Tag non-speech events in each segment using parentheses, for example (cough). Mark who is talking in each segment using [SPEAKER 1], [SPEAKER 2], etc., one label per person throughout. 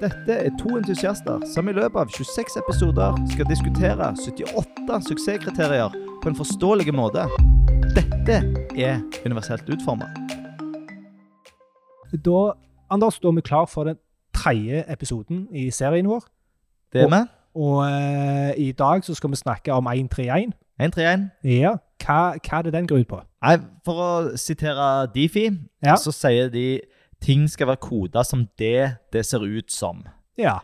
[SPEAKER 1] Dette er to entusiaster som i løpet av 26 episoder skal diskutere 78 suksesskriterier på en forståelig måte. Dette er universelt utforma.
[SPEAKER 2] Da, Anders, da er vi klar for den tredje episoden i serien vår.
[SPEAKER 1] Det er vi.
[SPEAKER 2] Og eh, i dag så skal vi snakke om 131.
[SPEAKER 1] 131.
[SPEAKER 2] Ja, hva, hva er det den går ut på?
[SPEAKER 1] Nei, for å sitere Difi,
[SPEAKER 2] Ja.
[SPEAKER 1] så sier de ting skal være koda som det det ser ut som.
[SPEAKER 2] Ja.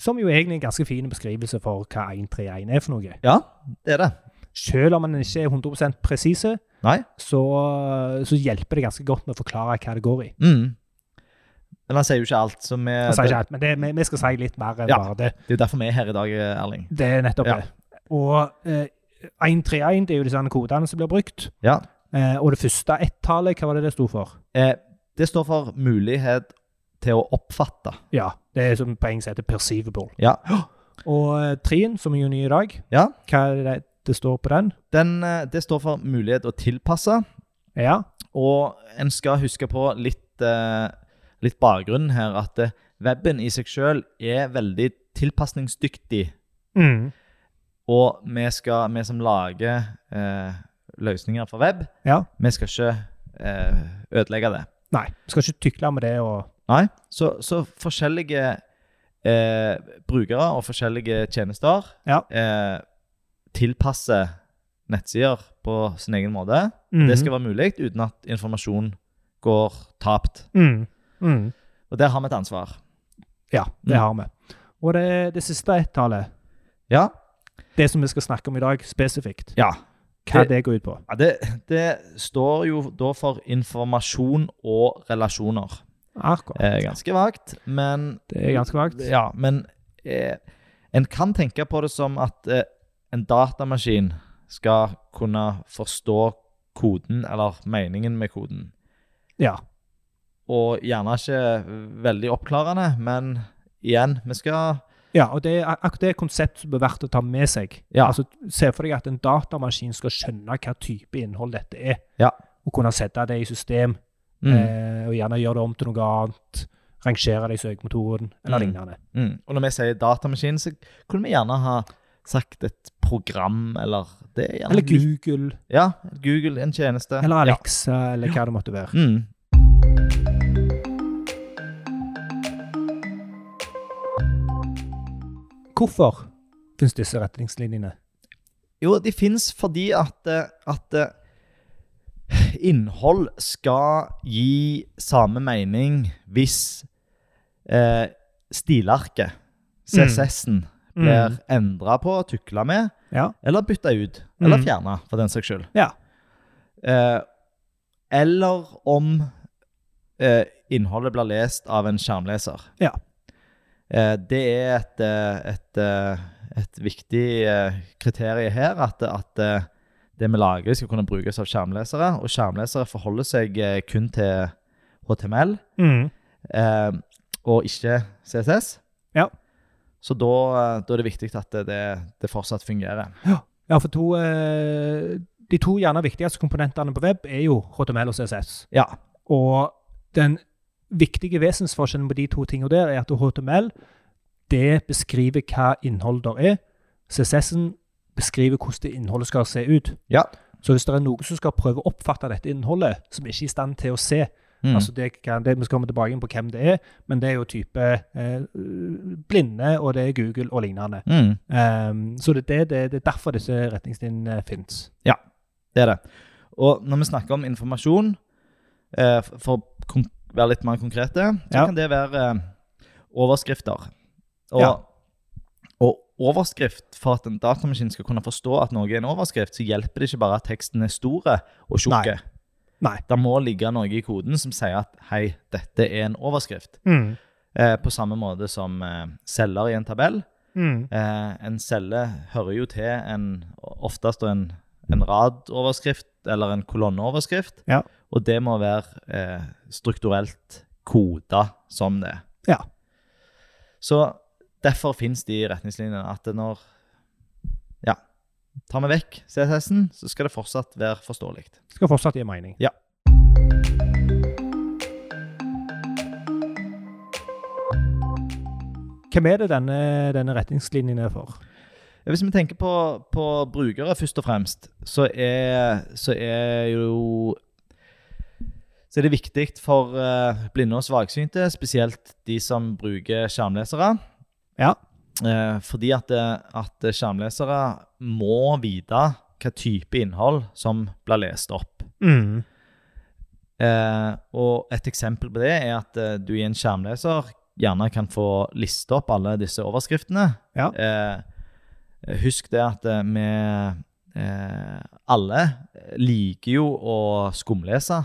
[SPEAKER 2] Som jo egentlig er en ganske fin beskrivelse for hva 131 er for noe.
[SPEAKER 1] Ja, det er det.
[SPEAKER 2] Selv om man ikke er 100 presise,
[SPEAKER 1] Nei.
[SPEAKER 2] så, så hjelper det ganske godt med å forklare hva det går i.
[SPEAKER 1] Mm. Men han sier jo ikke alt, så vi,
[SPEAKER 2] Jeg sier ikke alt, men det, vi, vi skal si litt mer enn
[SPEAKER 1] Ja.
[SPEAKER 2] bare det.
[SPEAKER 1] det er jo derfor vi er her i dag, Erling.
[SPEAKER 2] Det er nettopp
[SPEAKER 1] Ja.
[SPEAKER 2] det. Og eh, 131 det er jo disse kodene som blir brukt.
[SPEAKER 1] Ja.
[SPEAKER 2] Eh, og det første ett-tallet, hva var det det sto for?
[SPEAKER 1] Eh, det står for mulighet til å oppfatte.
[SPEAKER 2] Ja, det er som på engelsk heter perceivable.
[SPEAKER 1] Ja.
[SPEAKER 2] Og eh, trien, som er jo ny i dag,
[SPEAKER 1] Ja.
[SPEAKER 2] hva er det det står på den?
[SPEAKER 1] Den, eh, det står for mulighet å tilpasse,
[SPEAKER 2] Ja,
[SPEAKER 1] og en skal huske på litt, eh, litt bakgrunnen her, at eh, webben i seg selv er veldig tilpasningsdyktig,
[SPEAKER 2] mm.
[SPEAKER 1] og vi, skal, vi som lager eh, løsninger for web,
[SPEAKER 2] Ja.
[SPEAKER 1] vi skal ikke eh, ødelegge det.
[SPEAKER 2] Nei, vi skal ikke tykle med det og
[SPEAKER 1] Nei, så, så forskjellige eh, brukere og forskjellige tjenester
[SPEAKER 2] Ja.
[SPEAKER 1] eh, tilpasser nettsider på sin egen måte.
[SPEAKER 2] Mm.
[SPEAKER 1] Det skal være mulig uten at informasjon går tapt.
[SPEAKER 2] mm. Mm.
[SPEAKER 1] Og der har vi et ansvar.
[SPEAKER 2] Ja, det
[SPEAKER 1] Mm.
[SPEAKER 2] har vi. Og det, det siste ett-tallet,
[SPEAKER 1] Ja.
[SPEAKER 2] det som vi skal snakke om i dag spesifikt,
[SPEAKER 1] ja.
[SPEAKER 2] hva
[SPEAKER 1] Det-
[SPEAKER 2] det går ut på.
[SPEAKER 1] det, det står jo da for informasjon og relasjoner.
[SPEAKER 2] Akkurat.
[SPEAKER 1] Eh, ganske vagt, men
[SPEAKER 2] Det er ganske vagt.
[SPEAKER 1] Ja, men eh, en kan tenke på det som at eh, en datamaskin skal kunne forstå koden, eller meningen med koden.
[SPEAKER 2] Ja.
[SPEAKER 1] Og gjerne ikke veldig oppklarende, men igjen, vi skal
[SPEAKER 2] ja, og det er akkurat det er et konsept som er verdt å ta med seg.
[SPEAKER 1] Ja.
[SPEAKER 2] Altså, Se for deg at en datamaskin skal skjønne hva type innhold dette er,
[SPEAKER 1] Ja.
[SPEAKER 2] og kunne sette det i system.
[SPEAKER 1] mm,
[SPEAKER 2] eh, og gjerne gjøre det om til noe annet. Rangere det i søkemotoren, eller
[SPEAKER 1] Mm.
[SPEAKER 2] lignende.
[SPEAKER 1] mm. Og når vi sier datamaskin, så kunne vi gjerne ha sagt et program, eller det er gjerne
[SPEAKER 2] Eller Google,
[SPEAKER 1] Ja, Google, en tjeneste.
[SPEAKER 2] eller Alexa, eller hva det måtte være.
[SPEAKER 1] Ja. Mm. Mm.
[SPEAKER 2] Hvorfor finnes disse retningslinjene?
[SPEAKER 1] Jo, de fins fordi at, eh, at eh, innhold skal gi samme mening hvis eh, stilarket,
[SPEAKER 2] Mm.
[SPEAKER 1] CSS-en, blir endret endra på, tukla med,
[SPEAKER 2] Ja.
[SPEAKER 1] eller bytta ut. Eller
[SPEAKER 2] Mm.
[SPEAKER 1] fjerna, for den saks skyld.
[SPEAKER 2] Ja.
[SPEAKER 1] Eh, eller om eh, innholdet blir lest av en skjermleser.
[SPEAKER 2] Ja.
[SPEAKER 1] Eh, det er et, eh, et, eh, et viktig eh, kriterium her, at, at eh, det vi lager skal kunne brukes av skjermlesere, og skjermlesere forholder seg eh, kun til HTML
[SPEAKER 2] Mm.
[SPEAKER 1] eh, og ikke CSS.
[SPEAKER 2] Ja.
[SPEAKER 1] Så da, eh, da er det viktig at det, det, det fortsatt fungerer.
[SPEAKER 2] Ja, for to, eh, de to gjerne viktigste komponentene på web er jo HTML og CSS.
[SPEAKER 1] Ja.
[SPEAKER 2] Og den viktige vesensforskjellen på de to tingene der er at HTML det beskriver hva innholdet der er. CSS-en beskriver hvordan det innholdet skal se ut.
[SPEAKER 1] Ja.
[SPEAKER 2] Så hvis det er noen som skal prøve å oppfatte dette innholdet, som ikke er i stand til å se
[SPEAKER 1] Mm.
[SPEAKER 2] altså det kan, det, Vi skal komme tilbake inn på hvem det er, men det er jo type eh, blinde, og det er Google og lignende.
[SPEAKER 1] mm.
[SPEAKER 2] Ehm, så det, er det, det, det er derfor disse retningslinjene fins.
[SPEAKER 1] Det er det. Og når vi snakker om informasjon, eh, f- for å kon- være litt mer konkrete, så
[SPEAKER 2] Ja.
[SPEAKER 1] kan det være eh, overskrifter. Og,
[SPEAKER 2] Ja.
[SPEAKER 1] og overskrift, for at en datamaskin skal kunne forstå at noe er en overskrift, så hjelper det ikke bare at teksten er store og tjukke.
[SPEAKER 2] Nei.
[SPEAKER 1] Det må ligge noe i koden som sier at hei, dette er en overskrift.
[SPEAKER 2] Mm.
[SPEAKER 1] Eh, på samme måte som eh, celler i en tabell.
[SPEAKER 2] Mm.
[SPEAKER 1] Eh, en celle hører jo til en, oftest en, en radoverskrift eller en kolonneoverskrift,
[SPEAKER 2] Ja.
[SPEAKER 1] og det må være eh, strukturelt koda som det.
[SPEAKER 2] Ja.
[SPEAKER 1] Så derfor finnes de retningslinjene at det når ja, tar vi vekk CSS-en, så skal det fortsatt være forståelig.
[SPEAKER 2] Skal fortsatt gi mening.
[SPEAKER 1] Ja.
[SPEAKER 2] Hvem er det denne, denne retningslinjen er for?
[SPEAKER 1] Hvis vi tenker på, på brukere først og fremst, så er, så er jo Så er det viktig for eh, blinde og svaksynte, spesielt de som bruker skjermlesere.
[SPEAKER 2] Ja.
[SPEAKER 1] Eh, fordi at, eh, at skjermlesere må vite hva type innhold som blir lest opp.
[SPEAKER 2] Mm.
[SPEAKER 1] Eh, og et eksempel på det er at eh, du i en skjermleser gjerne kan få liste opp alle disse overskriftene.
[SPEAKER 2] Ja.
[SPEAKER 1] Eh, husk det at eh, vi eh, alle liker jo å skumlese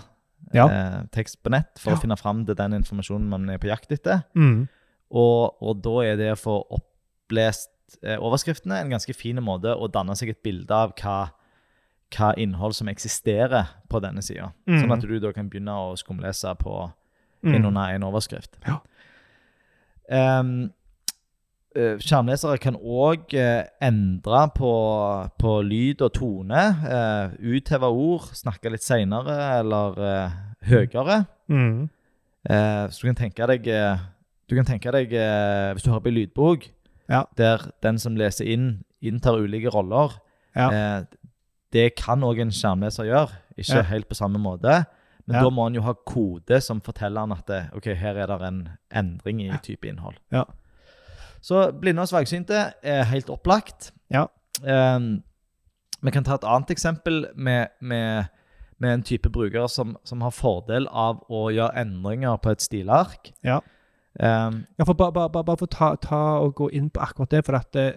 [SPEAKER 2] Ja.
[SPEAKER 1] eh, tekst på nett for
[SPEAKER 2] Ja.
[SPEAKER 1] å finne fram til den informasjonen man er på jakt etter.
[SPEAKER 2] Mm.
[SPEAKER 1] Og, og da er det å få opplest eh, overskriftene en ganske fin måte å danne seg et bilde av hva, hva innhold som eksisterer på denne sida.
[SPEAKER 2] Mm.
[SPEAKER 1] Sånn at du da kan begynne å skumlese på
[SPEAKER 2] Mm.
[SPEAKER 1] innunder en overskrift.
[SPEAKER 2] Ja.
[SPEAKER 1] Ehm, eh, skjermlesere kan òg endre på, på lyd og tone. eh, Utheve ord, snakke litt seinere eller eh, høyere.
[SPEAKER 2] Mm.
[SPEAKER 1] Eh, så du kan tenke deg, eh, du kan tenke deg eh, Hvis du hører på en lydbok
[SPEAKER 2] Ja.
[SPEAKER 1] der den som leser inn, inntar ulike roller
[SPEAKER 2] Ja.
[SPEAKER 1] eh, Det kan òg en skjermleser gjøre, ikke
[SPEAKER 2] Ja.
[SPEAKER 1] helt på samme måte. Men
[SPEAKER 2] Ja.
[SPEAKER 1] da må han jo ha kode som forteller han at det, ok, her er det en endring i type innhold.
[SPEAKER 2] Ja.
[SPEAKER 1] Så blinde og svaksynte er helt opplagt.
[SPEAKER 2] Ja.
[SPEAKER 1] Eh, vi kan ta et annet eksempel med, med, med en type bruker som, som har fordel av å gjøre endringer på et stilark.
[SPEAKER 2] Ja.
[SPEAKER 1] Ehm,
[SPEAKER 2] Ja, for bare, bare, bare, bare for å ta, ta og gå inn på akkurat det, for at eh,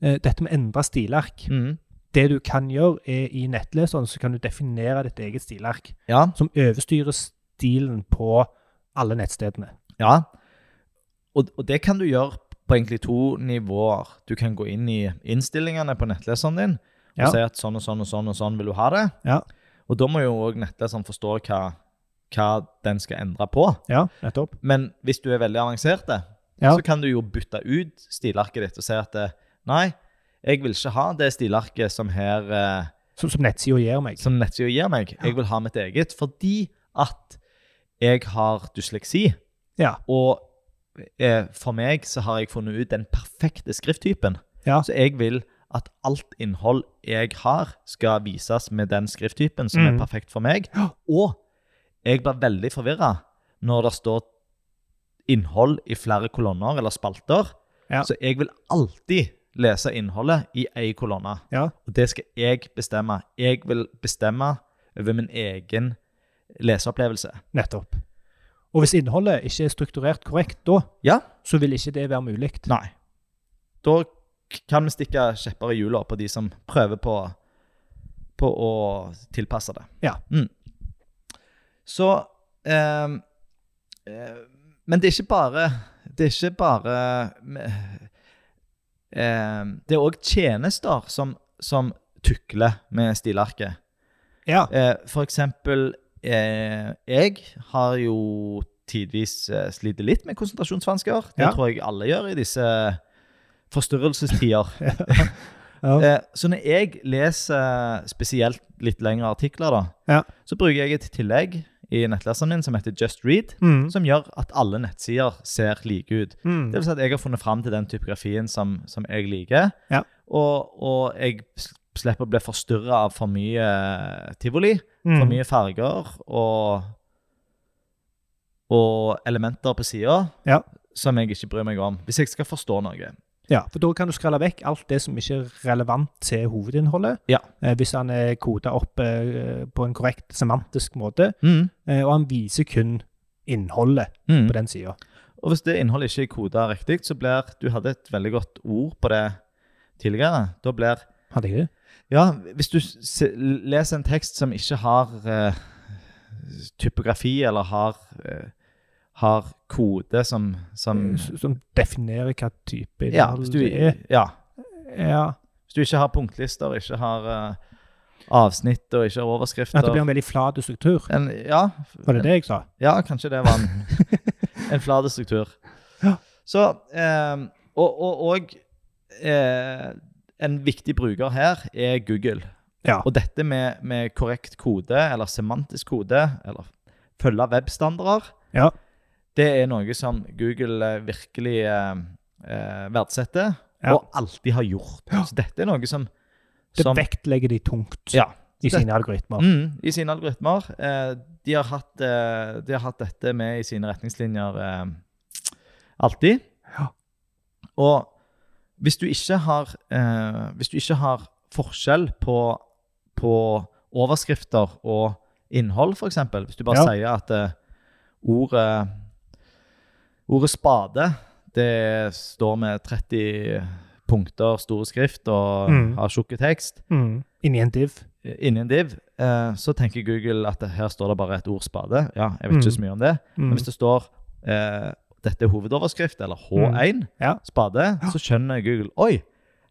[SPEAKER 2] dette med å endre stilark
[SPEAKER 1] mm,
[SPEAKER 2] Det du kan gjøre, er i nettleseren så kan du definere ditt eget stilark,
[SPEAKER 1] ja,
[SPEAKER 2] som overstyrer stilen på alle nettstedene.
[SPEAKER 1] ja. Og, og det kan du gjøre på egentlig to nivåer. Du kan gå inn i innstillingene på nettleseren din og
[SPEAKER 2] Ja.
[SPEAKER 1] si at sånn og sånn og sånn og sånn vil du ha det.
[SPEAKER 2] Ja.
[SPEAKER 1] Og da må jo òg nettleseren forstå hva, hva den skal endre på.
[SPEAKER 2] Ja, nettopp.
[SPEAKER 1] Men hvis du er veldig avansert, eh,
[SPEAKER 2] Ja.
[SPEAKER 1] så kan du jo bytte ut stilarket ditt og si at eh, nei, jeg vil ikke ha det stilarket som, her, eh,
[SPEAKER 2] Som, som nettsida gir meg.
[SPEAKER 1] som nettsida gir meg. Jeg vil ha mitt eget fordi at jeg har dysleksi.
[SPEAKER 2] Ja.
[SPEAKER 1] Og eh, for meg så har jeg funnet ut den perfekte skrifttypen.
[SPEAKER 2] Ja.
[SPEAKER 1] Så jeg vil at alt innhold jeg har, skal vises med den skrifttypen som
[SPEAKER 2] Mm.
[SPEAKER 1] er perfekt for meg.
[SPEAKER 2] Ja.
[SPEAKER 1] Og jeg blir veldig forvirra når det står innhold i flere kolonner eller spalter.
[SPEAKER 2] Ja.
[SPEAKER 1] Så jeg vil alltid lese innholdet i ei kolonne.
[SPEAKER 2] Ja.
[SPEAKER 1] Og det skal jeg bestemme. Jeg vil bestemme over min egen leseopplevelse.
[SPEAKER 2] Nettopp. Og hvis innholdet ikke er strukturert korrekt da,
[SPEAKER 1] Ja.
[SPEAKER 2] så vil ikke det være mulig.
[SPEAKER 1] Nei. Da k- kan vi stikke kjepper i hjula på de som prøver på, på å tilpasse det.
[SPEAKER 2] Ja.
[SPEAKER 1] Mm. Så ehm, eh, Men det er ikke bare Det er ikke bare ehm, Det er òg tjenester som, som tukler med stilarket.
[SPEAKER 2] Ja.
[SPEAKER 1] Eh, for eksempel, eh, jeg har jo tidvis eh, slitt litt med konsentrasjonsvansker. Det
[SPEAKER 2] Ja.
[SPEAKER 1] tror jeg alle gjør i disse
[SPEAKER 2] (laughs)
[SPEAKER 1] forstyrrelsestider.
[SPEAKER 2] Ja.
[SPEAKER 1] eh, så når jeg leser spesielt litt lengre artikler, da,
[SPEAKER 2] Ja.
[SPEAKER 1] så bruker jeg et tillegg i nettleseren min som heter Just Read,
[SPEAKER 2] Mm.
[SPEAKER 1] som gjør at alle nettsider ser like ut.
[SPEAKER 2] Mm.
[SPEAKER 1] Det vil si at jeg har funnet fram til den typografien som, som jeg liker.
[SPEAKER 2] Ja.
[SPEAKER 1] Og, og jeg s- slipper å bli forstyrra av for mye eh, tivoli, for
[SPEAKER 2] Mm.
[SPEAKER 1] mye farger og, og elementer på sida
[SPEAKER 2] Ja.
[SPEAKER 1] som jeg ikke bryr meg om, hvis jeg skal forstå noe.
[SPEAKER 2] Ja, for da kan du skrelle vekk alt det som ikke er relevant til hovedinnholdet.
[SPEAKER 1] Ja.
[SPEAKER 2] Eh, hvis han er koda opp eh, på en korrekt semantisk måte,
[SPEAKER 1] Mm.
[SPEAKER 2] eh, og han viser kun innholdet
[SPEAKER 1] Mm.
[SPEAKER 2] på den sida.
[SPEAKER 1] Og hvis det innholdet ikke er koda riktig, så blir Du hadde et veldig godt ord på det tidligere. Da blir
[SPEAKER 2] Hadde jeg det?
[SPEAKER 1] Ja, hvis du s leser en tekst som ikke har eh, typografi, eller har, eh, har kode som, som
[SPEAKER 2] S- Som definerer hva type
[SPEAKER 1] ja,
[SPEAKER 2] innhold
[SPEAKER 1] hvis du,
[SPEAKER 2] det er.
[SPEAKER 1] ja,
[SPEAKER 2] Ja,
[SPEAKER 1] hvis du ikke har punktlister, ikke har eh, avsnitt og ikke har
[SPEAKER 2] At det blir
[SPEAKER 1] overskrifter
[SPEAKER 2] en veldig flat struktur.
[SPEAKER 1] en, ja,
[SPEAKER 2] Var det det jeg sa?
[SPEAKER 1] ja, kanskje det
[SPEAKER 2] (laughs)
[SPEAKER 1] var en, en flate struktur.
[SPEAKER 2] Ja.
[SPEAKER 1] Så eh, Og, og, og eh, en viktig bruker her er Google.
[SPEAKER 2] Ja.
[SPEAKER 1] Og dette med, med korrekt kode, eller semantisk kode, eller følge webstandarder,
[SPEAKER 2] Ja.
[SPEAKER 1] det er noe som Google eh, virkelig eh, eh, verdsetter,
[SPEAKER 2] Ja.
[SPEAKER 1] og alltid har gjort. Så dette er noe som,
[SPEAKER 2] Det
[SPEAKER 1] som
[SPEAKER 2] vektlegger de tungt
[SPEAKER 1] Ja.
[SPEAKER 2] i sine algoritmer.
[SPEAKER 1] Mm, I sine algoritmer. Eh, de, har hatt, eh, de har hatt dette med i sine retningslinjer eh, alltid.
[SPEAKER 2] Ja.
[SPEAKER 1] Og hvis du ikke har, eh, hvis du ikke har forskjell på, på overskrifter og innhold, f.eks. Hvis du bare
[SPEAKER 2] Ja.
[SPEAKER 1] sier at eh, ordet, ordet spade det står med 30 punkter, store skrift og
[SPEAKER 2] Mm.
[SPEAKER 1] har tjukk tekst
[SPEAKER 2] Mm. Inni en div.
[SPEAKER 1] inni en div, eh, så tenker Google at det- her står det bare et ord spade. Ja, jeg vet ikke så mye om det. Men
[SPEAKER 2] Mm.
[SPEAKER 1] hvis det står eh, dette er hovedoverskrift, eller H1,
[SPEAKER 2] Mm. Ja.
[SPEAKER 1] spade, så skjønner Google oi,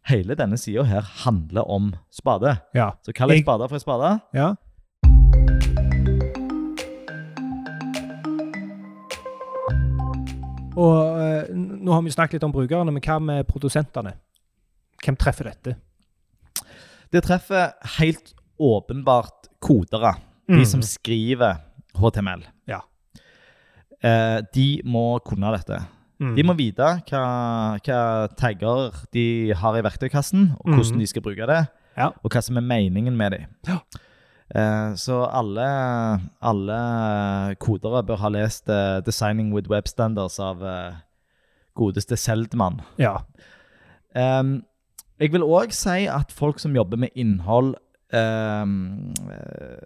[SPEAKER 1] hele denne sida her handler om spade.
[SPEAKER 2] Ja.
[SPEAKER 1] Så kall en
[SPEAKER 2] Jeg-
[SPEAKER 1] spade for en spade.
[SPEAKER 2] ja. Og eh, n- nå har vi snakket litt om brukerne, men hva med produsentene? Hvem treffer dette?
[SPEAKER 1] Det treffer helt åpenbart kodere, de
[SPEAKER 2] Mm.
[SPEAKER 1] som skriver HTML.
[SPEAKER 2] Ja.
[SPEAKER 1] Eh, de må kunne dette.
[SPEAKER 2] Mm.
[SPEAKER 1] De må vite hva, hva tagger de har i verktøykassen, og hvordan
[SPEAKER 2] Mhm.
[SPEAKER 1] de skal bruke det,
[SPEAKER 2] Ja.
[SPEAKER 1] og hva som er meningen med dem.
[SPEAKER 2] Ja.
[SPEAKER 1] Eh, så alle, alle kodere bør ha lest eh, 'Designing with Web Standards' av eh, godeste Seldman.
[SPEAKER 2] Ja.
[SPEAKER 1] Ehm, jeg vil òg si at folk som jobber med innhold, ehm, eh,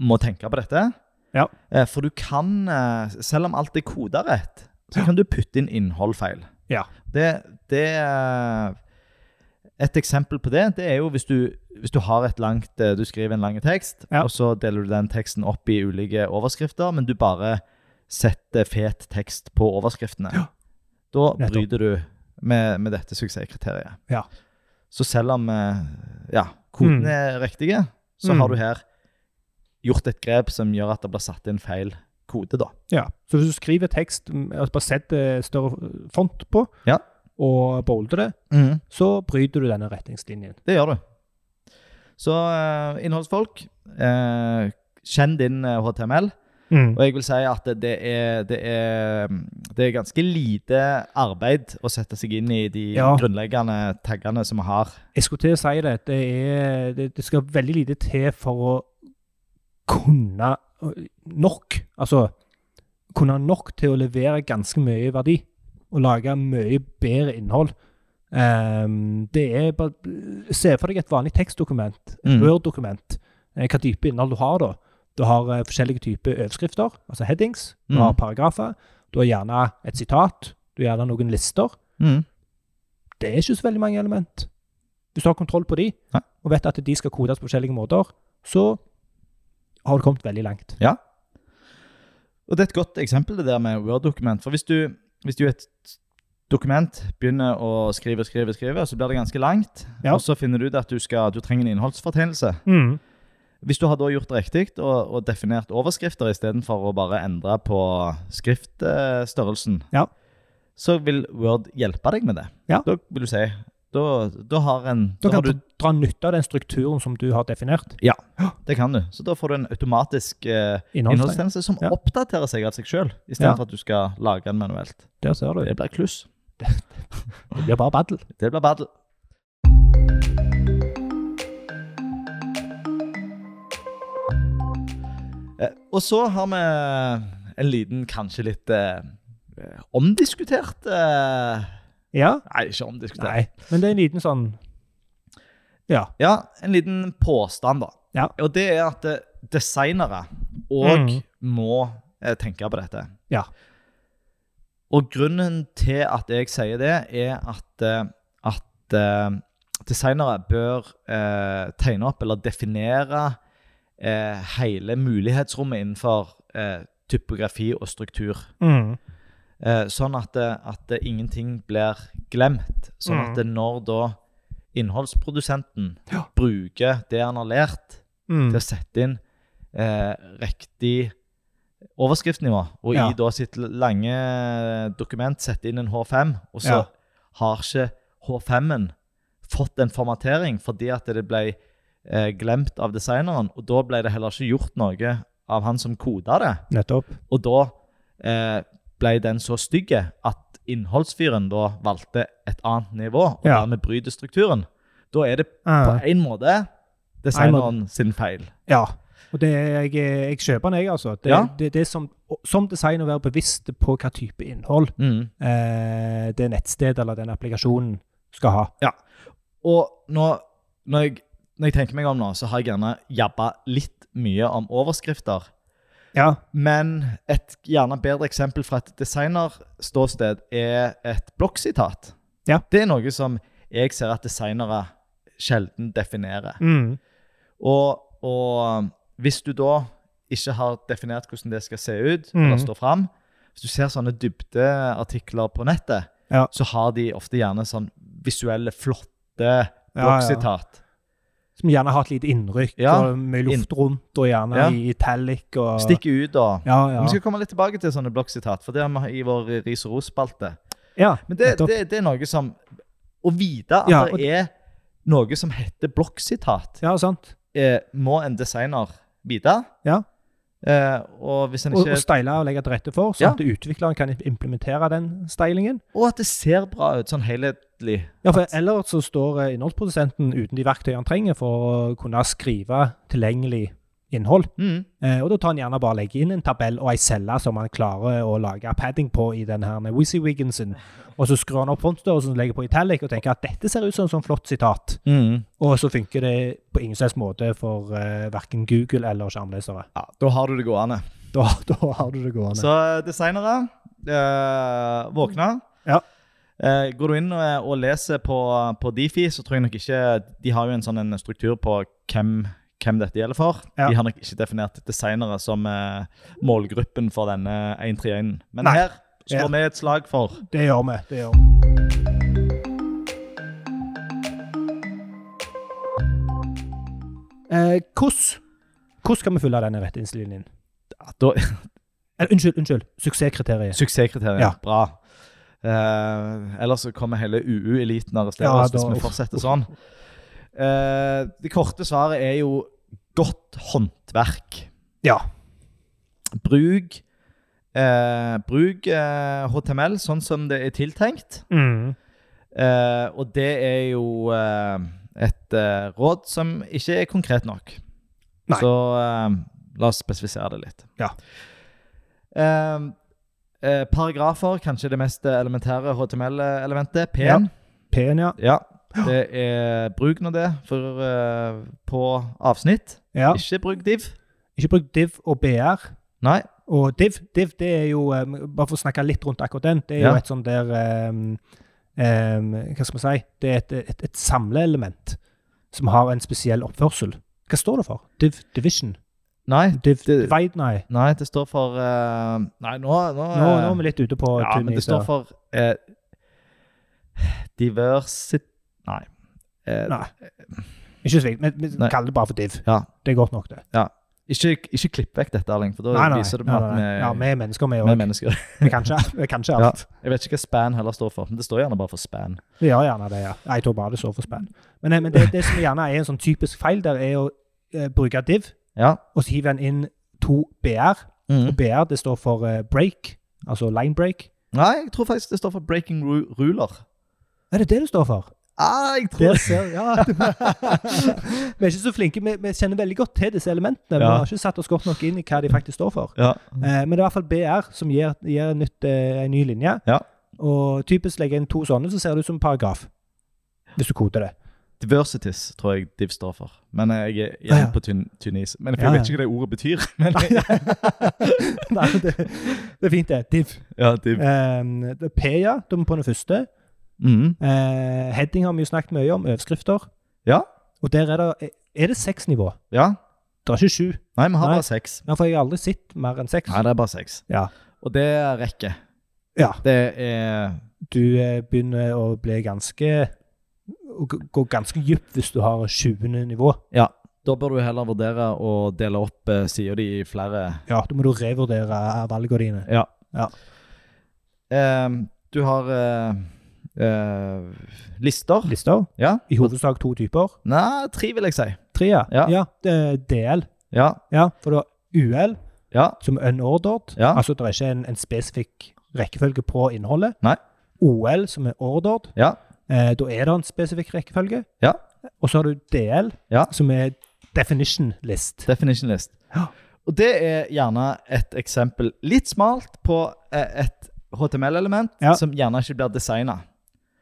[SPEAKER 1] må tenke på dette.
[SPEAKER 2] Ja.
[SPEAKER 1] Eh, for du kan, eh, selv om alt er koda rett, så
[SPEAKER 2] Ja.
[SPEAKER 1] kan du putte inn innhold feil.
[SPEAKER 2] Ja.
[SPEAKER 1] Det, det eh, Et eksempel på det det er jo hvis du, hvis du har et langt eh, Du skriver en lang tekst,
[SPEAKER 2] Ja.
[SPEAKER 1] og så deler du den teksten opp i ulike overskrifter, men du bare setter fet tekst på overskriftene.
[SPEAKER 2] Ja.
[SPEAKER 1] Da
[SPEAKER 2] Nettopp.
[SPEAKER 1] bryter du med, med dette suksesskriteriet.
[SPEAKER 2] Ja.
[SPEAKER 1] Så selv om eh, ja, kodene
[SPEAKER 2] Mm.
[SPEAKER 1] er riktige, så
[SPEAKER 2] Mm.
[SPEAKER 1] har du her gjort et grep som gjør at det blir satt inn feil kode, da.
[SPEAKER 2] Ja, så hvis du skriver tekst, mm, altså bare setter større font på,
[SPEAKER 1] Ja.
[SPEAKER 2] og bolder det, så bryter du denne retningslinjen.
[SPEAKER 1] Det gjør du. Så eh, innholdsfolk, eh, kjenn din eh, HTML.
[SPEAKER 2] Mm.
[SPEAKER 1] Og jeg vil si at det- det er, det er, det er ganske lite arbeid å sette seg inn i de
[SPEAKER 2] Ja.
[SPEAKER 1] grunnleggende taggene som vi har.
[SPEAKER 2] Jeg skulle til å si det, det, er, det, det skal veldig lite til for å kunne øh, nok, altså kunne nok til å levere ganske mye verdi, og lage mye bedre innhold. Ehm, det er bare, øh, se for deg et vanlig tekstdokument, et
[SPEAKER 1] Mm.
[SPEAKER 2] Word-dokument, eh, hva type innhold du har da. Du har eh, forskjellige typer overskrifter, altså headings, du
[SPEAKER 1] Mm.
[SPEAKER 2] har paragrafer, du har gjerne et sitat, du har gjerne noen lister, det er ikke så veldig mange element. Hvis du har kontroll på de,
[SPEAKER 1] Nei.
[SPEAKER 2] og vet at de skal kodes på forskjellige måter, så har du kommet veldig langt.
[SPEAKER 1] Og det er et godt eksempel det der med Word-dokument. For hvis du, hvis du i et dokument begynner å skrive, skrive, skrive, så blir det ganske langt.
[SPEAKER 2] Ja.
[SPEAKER 1] Og så finner du ut at du, skal, du trenger en innholdsfortegnelse. Hvis du har da gjort det riktig og, og definert overskrifter istedenfor å bare endre på skriftstørrelsen,
[SPEAKER 2] Ja.
[SPEAKER 1] så vil Word hjelpe deg med det.
[SPEAKER 2] Ja.
[SPEAKER 1] Da vil du si Da, da har en
[SPEAKER 2] Da kan
[SPEAKER 1] har
[SPEAKER 2] du
[SPEAKER 1] du,
[SPEAKER 2] dra nytte av den strukturen som du har definert.
[SPEAKER 1] Det kan du. Så da får du en automatisk eh,
[SPEAKER 2] Innholdstegn.
[SPEAKER 1] innholdstjeneste som
[SPEAKER 2] Ja.
[SPEAKER 1] oppdaterer seg av seg sjøl,
[SPEAKER 2] Ja.
[SPEAKER 1] istedenfor for at du skal lage den manuelt.
[SPEAKER 2] Der ser du.
[SPEAKER 1] Det blir kluss.
[SPEAKER 2] Det blir bare baddel.
[SPEAKER 1] Det blir battle. Eh, Og så har vi en liten, kanskje litt eh, eh, omdiskutert eh,
[SPEAKER 2] Ja?
[SPEAKER 1] Nei, ikke omdiskutert.
[SPEAKER 2] Nei. Men det er en liten sånn Ja.
[SPEAKER 1] Ja, en liten påstand, da.
[SPEAKER 2] Ja.
[SPEAKER 1] Og det er at eh, designere òg
[SPEAKER 2] Mm.
[SPEAKER 1] må eh, tenke på dette.
[SPEAKER 2] Ja.
[SPEAKER 1] Og grunnen til at jeg sier det, er at, eh, at eh, designere bør eh, tegne opp eller definere eh, hele mulighetsrommet innenfor eh, typografi og struktur. Eh, sånn at, eh, at eh, ingenting blir glemt. Sånn
[SPEAKER 2] Mm.
[SPEAKER 1] at eh, når da innholdsprodusenten
[SPEAKER 2] Ja. Mm.
[SPEAKER 1] bruker det han har lært, til å sette inn eh, riktig overskriftnivå, og
[SPEAKER 2] Ja.
[SPEAKER 1] i da sitt lange dokument sette inn en H5, og så
[SPEAKER 2] Ja.
[SPEAKER 1] har ikke H5-en fått en formatering fordi at det ble eh, glemt av designeren, og da ble det heller ikke gjort noe av han som koda det.
[SPEAKER 2] Nettopp.
[SPEAKER 1] Og da eh, ble den så stygge at innholdsfyren da valgte et annet nivå, og
[SPEAKER 2] Ja.
[SPEAKER 1] dermed bryter strukturen, da er det på
[SPEAKER 2] Ja.
[SPEAKER 1] en måte designeren sin feil.
[SPEAKER 2] Ja. Og det, er- jeg, jeg kjøper den, jeg, altså. Det,
[SPEAKER 1] Ja.
[SPEAKER 2] det, det er som, som designer å være bevisst på hva type innhold
[SPEAKER 1] Mm.
[SPEAKER 2] eh, det nettstedet eller den applikasjonen skal ha.
[SPEAKER 1] Og nå, når, jeg, når jeg tenker meg om nå, så har jeg gjerne jabba litt mye om overskrifter.
[SPEAKER 2] Ja.
[SPEAKER 1] Men et gjerne bedre eksempel fra et designerståsted er et blogg-sitat.
[SPEAKER 2] Ja.
[SPEAKER 1] Det er noe som jeg ser at designere sjelden definerer.
[SPEAKER 2] Mm.
[SPEAKER 1] Og, og hvis du da ikke har definert hvordan det skal se ut,
[SPEAKER 2] Mhm.
[SPEAKER 1] eller stå fram Hvis du ser sånne dybdeartikler på nettet,
[SPEAKER 2] Ja.
[SPEAKER 1] så har de ofte gjerne sånn visuelle, flotte
[SPEAKER 2] ja.
[SPEAKER 1] blogg-sitat.
[SPEAKER 2] Som gjerne har et lite innrykk,
[SPEAKER 1] Ja.
[SPEAKER 2] og mye luft rundt, og gjerne
[SPEAKER 1] Ja.
[SPEAKER 2] i italic og
[SPEAKER 1] Stikker ut, da.
[SPEAKER 2] Ja, ja.
[SPEAKER 1] Vi skal komme litt tilbake til sånne blogg-sitat, for det har vi i vår ris og ros-spalte.
[SPEAKER 2] ja.
[SPEAKER 1] Men det,
[SPEAKER 2] Nettopp.
[SPEAKER 1] det, det er noe som Å vite at
[SPEAKER 2] Ja, og-
[SPEAKER 1] det er noe som heter blogg-sitat,
[SPEAKER 2] ja, sant.
[SPEAKER 1] eh, må en designer vite.
[SPEAKER 2] Ja.
[SPEAKER 1] Eh, og hvis en
[SPEAKER 2] Og,
[SPEAKER 1] ikke
[SPEAKER 2] og style og legge til rette for, sånn
[SPEAKER 1] Ja.
[SPEAKER 2] at utvikleren kan implementere den stylingen.
[SPEAKER 1] Og at det ser bra ut sånn helhetlig.
[SPEAKER 2] Ja, for Ellers så står eh, innholdsprodusenten uten de verktøyene han trenger for å kunne skrive tilgjengelig innhold.
[SPEAKER 1] Mm.
[SPEAKER 2] Eh, og Da tar han gjerne bare og legger inn en tabell og ei celle som han klarer å lage padding på i den her WYSIWYG-en sin. Og Så skrur han opp frontstørrelsen og legger på italic og tenker at dette ser ut som et sånt flott sitat. Og så funker det på ingen slags måte for eh, verken Google eller skjermlesere.
[SPEAKER 1] Ja, da har du det gående.
[SPEAKER 2] Da, (laughs) da har du det gående.
[SPEAKER 1] Så eh, designere, eh, våkne.
[SPEAKER 2] Ja.
[SPEAKER 1] Eh, går du inn eh, og leser på, på Difi, så tror jeg nok ikke De har jo en sånn en struktur på hvem, hvem dette gjelder for.
[SPEAKER 2] Ja.
[SPEAKER 1] De har nok ikke definert designere som eh, målgruppen for denne 131. Men
[SPEAKER 2] Nei.
[SPEAKER 1] her slår vi et slag for.
[SPEAKER 2] Det gjør vi. det gjør vi. Eh, hvordan, hvordan skal vi følge denne retningslinjen?
[SPEAKER 1] Ja, Da,
[SPEAKER 2] Eh, unnskyld, unnskyld. Suksesskriteriet.
[SPEAKER 1] Suksesskriteriet.
[SPEAKER 2] Ja.
[SPEAKER 1] Bra. Eh, ellers så kommer hele UU-eliten og arresterer
[SPEAKER 2] Ja,
[SPEAKER 1] oss hvis
[SPEAKER 2] da-
[SPEAKER 1] vi
[SPEAKER 2] uff,
[SPEAKER 1] fortsetter sånn. Eh, det korte svaret er jo godt håndverk.
[SPEAKER 2] Ja.
[SPEAKER 1] Bruk, eh, bruk eh, HTML sånn som det er tiltenkt.
[SPEAKER 2] Mm.
[SPEAKER 1] Eh, og det er jo eh, et eh, råd som ikke er konkret nok.
[SPEAKER 2] Nei.
[SPEAKER 1] Så eh, la oss spesifisere det litt.
[SPEAKER 2] Ja.
[SPEAKER 1] Eh, eh, paragrafer, kanskje det mest elementære HTML-elementet. P-en.
[SPEAKER 2] P-en, ja.
[SPEAKER 1] Ja. Det er bruk nå det for, eh, på avsnitt.
[SPEAKER 2] ja.
[SPEAKER 1] Ikke bruk div.
[SPEAKER 2] Ikke bruk div og BR.
[SPEAKER 1] Nei.
[SPEAKER 2] Og div, div det er jo eh, Bare for å snakke litt rundt akkurat den. Det er
[SPEAKER 1] Ja.
[SPEAKER 2] jo et sånn der ehm, ehm, Hva skal vi si? Det er et, et, et samleelement som har en spesiell oppførsel. Hva står det for? Div division?
[SPEAKER 1] Nei,
[SPEAKER 2] Div
[SPEAKER 1] Det-
[SPEAKER 2] divide, nei.
[SPEAKER 1] nei det står for eh, Nei, nå, nå,
[SPEAKER 2] Nå, nå er vi litt ute på
[SPEAKER 1] Ja,
[SPEAKER 2] tynn
[SPEAKER 1] men det
[SPEAKER 2] is
[SPEAKER 1] står
[SPEAKER 2] her.
[SPEAKER 1] for eh, Diversity Nei. Eh,
[SPEAKER 2] Nei. Ikke sving, men, men
[SPEAKER 1] Nei.
[SPEAKER 2] kall det bare for div.
[SPEAKER 1] Ja.
[SPEAKER 2] Det er godt nok, det.
[SPEAKER 1] Ikke, ikke klipp vekk dette, Erling, for da
[SPEAKER 2] Nei, nei,
[SPEAKER 1] viser det
[SPEAKER 2] nei,
[SPEAKER 1] meg at
[SPEAKER 2] nei.
[SPEAKER 1] vi
[SPEAKER 2] Ja, vi er mennesker, vi
[SPEAKER 1] vi er
[SPEAKER 2] òg.
[SPEAKER 1] mennesker.
[SPEAKER 2] Vi kan ikke- vi kan ikke
[SPEAKER 1] Ja.
[SPEAKER 2] alt.
[SPEAKER 1] Jeg vet ikke hva span heller står for, men det står gjerne bare for span.
[SPEAKER 2] Vi gjør gjerne det, ja. Jeg tror bare det står for spenn. Men, eh, men det, det som gjerne er en sånn typisk feil der, er å eh, bruke div,
[SPEAKER 1] Ja.
[SPEAKER 2] og så hiver en inn to BR. Og
[SPEAKER 1] Mm.
[SPEAKER 2] BR det står for eh, break, altså line break.
[SPEAKER 1] Nei, jeg tror faktisk det står for breaking ru ruler.
[SPEAKER 2] Er det det det står
[SPEAKER 1] (laughs)
[SPEAKER 2] for?
[SPEAKER 1] Ah, jeg
[SPEAKER 2] Der
[SPEAKER 1] tror
[SPEAKER 2] ser ja. (laughs) du- Vi er ikke så flinke. Vi, vi kjenner veldig godt til disse elementene, men
[SPEAKER 1] Ja. Mm.
[SPEAKER 2] vi har ikke satt oss godt nok inn i hva de faktisk står for.
[SPEAKER 1] ja.
[SPEAKER 2] Eh, men det er i hvert fall BR som gir, gir en, nytt, eh, en ny linje.
[SPEAKER 1] Ja.
[SPEAKER 2] Og typisk legger jeg inn to sånne, så ser det ut som en paragraf. Hvis du koder det.
[SPEAKER 1] (laughs)
[SPEAKER 2] (laughs)
[SPEAKER 1] Diversities tror jeg div står for. Men jeg er
[SPEAKER 2] Ah, ja.
[SPEAKER 1] igjen på tynn tynn is. Men jeg
[SPEAKER 2] Ja,
[SPEAKER 1] vet ikke hva det ordet betyr. (laughs) Men
[SPEAKER 2] Nei, det, det er fint, det. Div.
[SPEAKER 1] ja, div.
[SPEAKER 2] Um, det er P, ja. Da er vi på den første.
[SPEAKER 1] Mm.
[SPEAKER 2] Eh, heading har vi jo snakket mye om. Overskrifter.
[SPEAKER 1] Ja.
[SPEAKER 2] Og der er det Er det seks nivå?
[SPEAKER 1] ja.
[SPEAKER 2] Det er ikke sju.
[SPEAKER 1] Nei, vi har
[SPEAKER 2] Nei.
[SPEAKER 1] bare seks.
[SPEAKER 2] Ja, for jeg har aldri sett mer enn seks.
[SPEAKER 1] Nei, det er bare seks.
[SPEAKER 2] Ja.
[SPEAKER 1] Og det rekker.
[SPEAKER 2] Ja.
[SPEAKER 1] Det er
[SPEAKER 2] Du eh, begynner å bli ganske å g- Gå ganske dypt hvis du har 20. nivå.
[SPEAKER 1] Ja. Da bør du heller vurdere å dele opp uh, sida di i flere
[SPEAKER 2] Ja, Da må du revurdere valgene dine.
[SPEAKER 1] Ja.
[SPEAKER 2] Ja.
[SPEAKER 1] Ehm, du har eh, eh, lister.
[SPEAKER 2] Lister.
[SPEAKER 1] Ja.
[SPEAKER 2] I hovedsak to typer.
[SPEAKER 1] Nei, tre vil jeg si.
[SPEAKER 2] Tre, ja.
[SPEAKER 1] Ja.
[SPEAKER 2] det- DL.
[SPEAKER 1] Ja.
[SPEAKER 2] Ja, for da UL,
[SPEAKER 1] Ja.
[SPEAKER 2] som er unordered.
[SPEAKER 1] Ja.
[SPEAKER 2] Altså det er ikke en, en spesifikk rekkefølge på innholdet.
[SPEAKER 1] Nei.
[SPEAKER 2] OL, som er ordered.
[SPEAKER 1] Ja.
[SPEAKER 2] Eh, da er det en spesifikk rekkefølge.
[SPEAKER 1] Ja.
[SPEAKER 2] Og så har du DL,
[SPEAKER 1] Ja.
[SPEAKER 2] som er definition list.
[SPEAKER 1] Definition list.
[SPEAKER 2] Ja.
[SPEAKER 1] Og det er gjerne et eksempel litt smalt på eh, et HTML-element
[SPEAKER 2] Ja.
[SPEAKER 1] som gjerne ikke blir designa.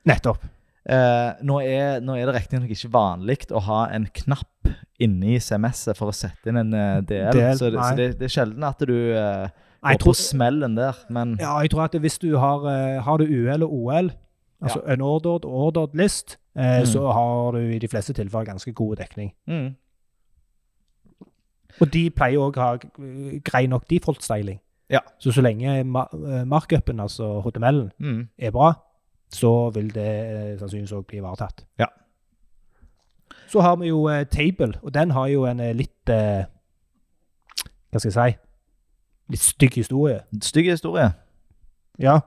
[SPEAKER 2] Nettopp.
[SPEAKER 1] Eh, nå, er, nå er det riktignok ikke vanlig å ha en knapp inni CMS-et for å sette inn en eh, DL,
[SPEAKER 2] DL,
[SPEAKER 1] så, det,
[SPEAKER 2] nei.
[SPEAKER 1] så det, det er sjelden at du eh,
[SPEAKER 2] Nei,
[SPEAKER 1] går
[SPEAKER 2] jeg tror,
[SPEAKER 1] på smellen der, men
[SPEAKER 2] ja, jeg tror at hvis du har, eh, har du UL og OL, altså unordered og ordered list, eh,
[SPEAKER 1] Mm.
[SPEAKER 2] så har du i de fleste tilfeller ganske god dekning.
[SPEAKER 1] mm,
[SPEAKER 2] Og de pleier òg å ha eh, grei nok default styling.
[SPEAKER 1] Ja.
[SPEAKER 2] Så så lenge ma eh, markupen, altså HTML-en,
[SPEAKER 1] mm.
[SPEAKER 2] er bra, så vil det eh, sannsynligvis òg bli ivaretatt.
[SPEAKER 1] Ja.
[SPEAKER 2] Så har vi jo eh, Table, og den har jo en eh, litt eh, Hva skal jeg si Litt stygg historie.
[SPEAKER 1] Stygg historie.
[SPEAKER 2] Ja.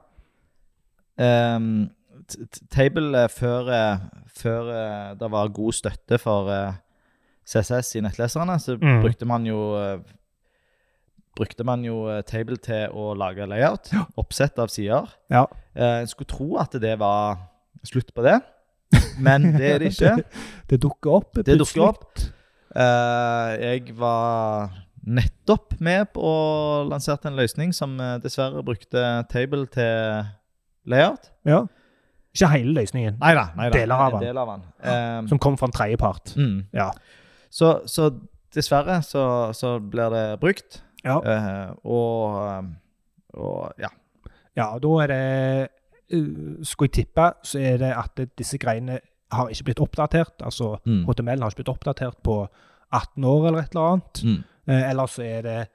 [SPEAKER 1] Ehm, t- t- table eh, før, eh, før eh, det var god støtte for eh, CSS i nettleserne, så
[SPEAKER 2] Mm.
[SPEAKER 1] brukte man jo eh, brukte man jo eh, Table til å lage layout, oppsett av sider.
[SPEAKER 2] Ja.
[SPEAKER 1] Eh, En skulle tro at det var slutt på det, men det er det
[SPEAKER 2] (laughs)
[SPEAKER 1] ikke.
[SPEAKER 2] Det dukker opp.
[SPEAKER 1] Det dukker
[SPEAKER 2] plutselig.
[SPEAKER 1] opp. Eh, jeg var nettopp med på å lansere en løsning som eh, dessverre brukte Table til layout.
[SPEAKER 2] Ja. Ikke hele løsningen,
[SPEAKER 1] Nei da. Nei da.
[SPEAKER 2] Deler av
[SPEAKER 1] En
[SPEAKER 2] den.
[SPEAKER 1] Del av den. Ehm,
[SPEAKER 2] som kom fra en tredjepart.
[SPEAKER 1] mm.
[SPEAKER 2] Ja.
[SPEAKER 1] så, så dessverre så, så blir det brukt.
[SPEAKER 2] Ja.
[SPEAKER 1] Eh, og, ehm, og ja.
[SPEAKER 2] ja, og da er det eh, Skulle jeg tippe, så er det at disse greiene har ikke blitt oppdatert. Altså
[SPEAKER 1] Mm.
[SPEAKER 2] HTML har ikke blitt oppdatert på 18 år eller et eller annet.
[SPEAKER 1] Mm.
[SPEAKER 2] Eh, Eller så er det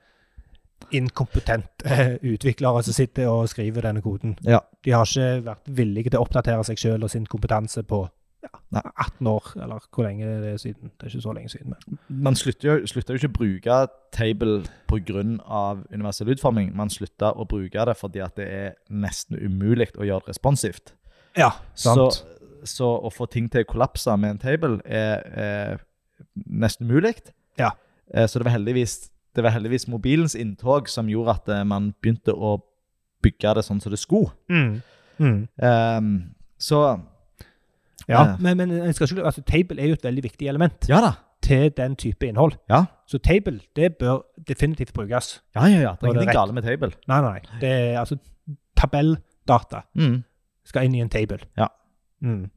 [SPEAKER 2] inkompetente utviklere som sitter og skriver denne koden.
[SPEAKER 1] Ja.
[SPEAKER 2] De har ikke vært villige til å oppdatere seg sjøl og sin kompetanse på ja,
[SPEAKER 1] Nei.
[SPEAKER 2] 18 år, eller hvor lenge det er siden. Det er ikke så lenge siden. Men.
[SPEAKER 1] Man slutta jo, slutta jo ikke å bruke Table pga. universell utforming. Man slutta å bruke det fordi at det er nesten umulig å gjøre det responsivt.
[SPEAKER 2] Ja,
[SPEAKER 1] Så,
[SPEAKER 2] sant.
[SPEAKER 1] så å få ting til å kollapse med en table er, er nesten umulig.
[SPEAKER 2] Ja.
[SPEAKER 1] Eh, Så det var, heldigvis, det var heldigvis mobilens inntog som gjorde at eh, man begynte å bygge det sånn som det skulle.
[SPEAKER 2] Mm. Mm.
[SPEAKER 1] Ehm, så
[SPEAKER 2] Ja,
[SPEAKER 1] Eh.
[SPEAKER 2] men, men jeg skal ikke, glemme- altså, table er jo et veldig viktig element
[SPEAKER 1] Ja da.
[SPEAKER 2] til den type innhold.
[SPEAKER 1] Ja.
[SPEAKER 2] Så table det bør definitivt brukes.
[SPEAKER 1] Ja, ja, ja. Det
[SPEAKER 2] Nå
[SPEAKER 1] er
[SPEAKER 2] er det
[SPEAKER 1] ingenting
[SPEAKER 2] rett.
[SPEAKER 1] galt med table.
[SPEAKER 2] Nei, nei. nei. Det er, altså, tabelldata
[SPEAKER 1] Mm.
[SPEAKER 2] skal inn i en table.
[SPEAKER 1] Ja.
[SPEAKER 2] Mm.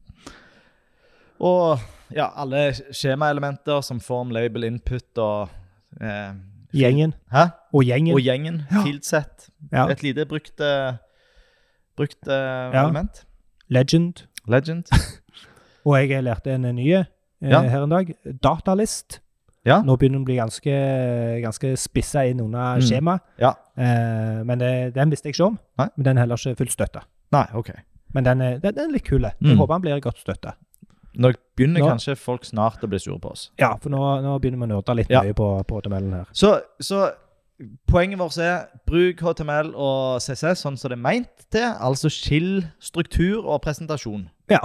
[SPEAKER 1] Og ja, alle skjemaelementer som form, label, input og eh,
[SPEAKER 2] Gjengen
[SPEAKER 1] Hæ?
[SPEAKER 2] og gjengen.
[SPEAKER 1] Og gjengen.
[SPEAKER 2] Ja.
[SPEAKER 1] Fieldset.
[SPEAKER 2] ja.
[SPEAKER 1] Et lite brukt, eh, brukt eh,
[SPEAKER 2] Ja.
[SPEAKER 1] element.
[SPEAKER 2] Legend.
[SPEAKER 1] Legend.
[SPEAKER 2] Og jeg lærte en ny eh,
[SPEAKER 1] Ja.
[SPEAKER 2] her en dag. Datalist.
[SPEAKER 1] Ja.
[SPEAKER 2] Nå begynner den å bli ganske, ganske spissa inn under
[SPEAKER 1] Mm.
[SPEAKER 2] skjema.
[SPEAKER 1] Ja.
[SPEAKER 2] Eh, men det, den visste jeg ikke om.
[SPEAKER 1] Nei.
[SPEAKER 2] Men den er heller ikke fullt støtta.
[SPEAKER 1] Nei, OK.
[SPEAKER 2] Men den er, den er litt kul. Jeg
[SPEAKER 1] Mm.
[SPEAKER 2] håper han blir godt støtta.
[SPEAKER 1] Nå begynner
[SPEAKER 2] Nå-
[SPEAKER 1] kanskje folk snart å bli sure på oss.
[SPEAKER 2] Ja, for nå, nå begynner vi å nørde litt
[SPEAKER 1] Ja.
[SPEAKER 2] mye på, på HTML-en her.
[SPEAKER 1] Så, så poenget vårt er bruk HTML og CSS sånn som det er meint til. Altså skill struktur og presentasjon.
[SPEAKER 2] Ja.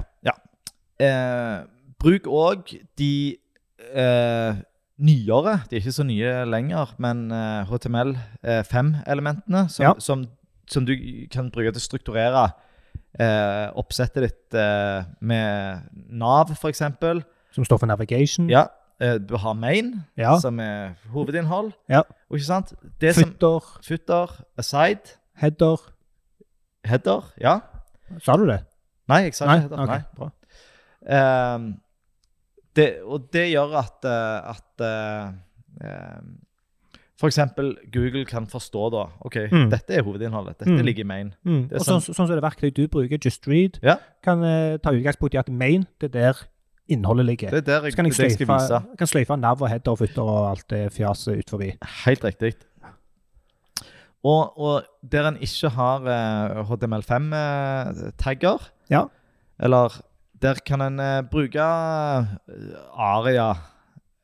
[SPEAKER 1] Eh, bruk òg de eh, nyere, de er ikke så nye lenger, men eh, HTML5-elementene som,
[SPEAKER 2] Ja.
[SPEAKER 1] som, som du kan bruke til å strukturere eh, oppsettet ditt eh, med Nav, f.eks.
[SPEAKER 2] Som står for navigation.
[SPEAKER 1] Ja, eh, du har main,
[SPEAKER 2] Ja.
[SPEAKER 1] som er hovedinnhold.
[SPEAKER 2] Ja.
[SPEAKER 1] Og ikke sant? Det som
[SPEAKER 2] Footer,
[SPEAKER 1] Footer, aside,
[SPEAKER 2] header.
[SPEAKER 1] header, ja.
[SPEAKER 2] Sa du det?
[SPEAKER 1] Nei, jeg sa
[SPEAKER 2] Nei,
[SPEAKER 1] ikke header.
[SPEAKER 2] ok,
[SPEAKER 1] Nei. Ehm, det, og det gjør at, eh, at eh, ehm, for eksempel Google kan forstå da, ok,
[SPEAKER 2] Mm.
[SPEAKER 1] dette er hovedinnholdet, dette
[SPEAKER 2] Mm.
[SPEAKER 1] ligger i main.
[SPEAKER 2] Mm.
[SPEAKER 1] Det er
[SPEAKER 2] Og sånn, sånn som det verktøy du bruker, Just Read,
[SPEAKER 1] Ja.
[SPEAKER 2] kan eh, ta utgangspunkt i at main, det er der innholdet ligger.
[SPEAKER 1] Det er der jeg,
[SPEAKER 2] Så kan jeg
[SPEAKER 1] det jeg skal
[SPEAKER 2] sløyfe,
[SPEAKER 1] vise.
[SPEAKER 2] kan sløyfe nav og header og footer og alt det fjaset ut forbi.
[SPEAKER 1] Helt riktig. Og, og der en ikke har eh, HTML5-tagger,
[SPEAKER 2] Ja.
[SPEAKER 1] eh, eller der kan en eh, bruke eh, aria,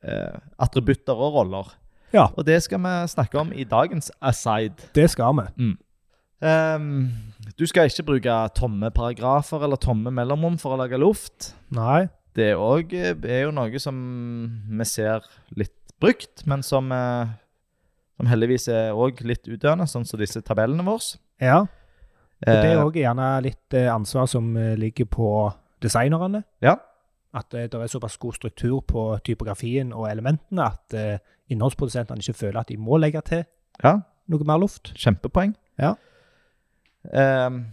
[SPEAKER 1] eh, attributter og roller.
[SPEAKER 2] Ja.
[SPEAKER 1] Og det skal vi snakke om i dagens aside.
[SPEAKER 2] Det skal vi.
[SPEAKER 1] Ehm, du skal ikke bruke tomme paragrafer eller tomme mellomrom for å lage luft.
[SPEAKER 2] Nei.
[SPEAKER 1] Det er òg, eh, er jo noe som vi ser litt brukt, men som, eh, som heldigvis er òg litt utdøende, sånn som disse tabellene våre.
[SPEAKER 2] Ja. Og det er
[SPEAKER 1] Eh,
[SPEAKER 2] òg gjerne litt eh, ansvar som eh, ligger på designerne.
[SPEAKER 1] Ja.
[SPEAKER 2] At eh, det er såpass god struktur på typografien og elementene at eh, innholdsprodusentene ikke føler at de må legge til
[SPEAKER 1] Ja.
[SPEAKER 2] noe mer luft.
[SPEAKER 1] Kjempepoeng.
[SPEAKER 2] Ja.
[SPEAKER 1] Ehm,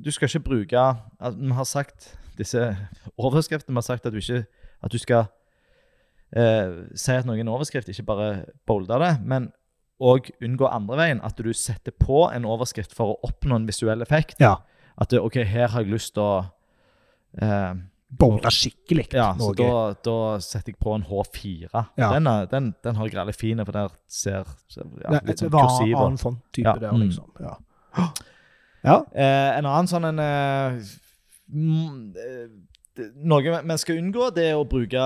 [SPEAKER 1] du skal ikke bruke at Vi har sagt disse overskriftene. Vi har sagt at du ikke at du skal eh, si at noe er en overskrift, ikke bare bolde det. Men òg unngå andre veien. At du setter på en overskrift for å oppnå en visuell effekt.
[SPEAKER 2] Ja.
[SPEAKER 1] At det, OK, her har jeg lyst til å eh,
[SPEAKER 2] Bolde skikkelig
[SPEAKER 1] ja, så
[SPEAKER 2] noe.
[SPEAKER 1] da, da setter jeg på en H4.
[SPEAKER 2] Ja.
[SPEAKER 1] Den, er, den, den har jeg veldig fin, for der ser ser- ja,
[SPEAKER 2] det,
[SPEAKER 1] litt sånn
[SPEAKER 2] det var
[SPEAKER 1] kursiv og-
[SPEAKER 2] annen font-type
[SPEAKER 1] Ja,
[SPEAKER 2] der,
[SPEAKER 1] mm.
[SPEAKER 2] liksom.
[SPEAKER 1] (gasps)
[SPEAKER 2] Ja. ja.
[SPEAKER 1] Eh, en annen sånn en eh, mm, eh, det- Noe man skal unngå, det er å bruke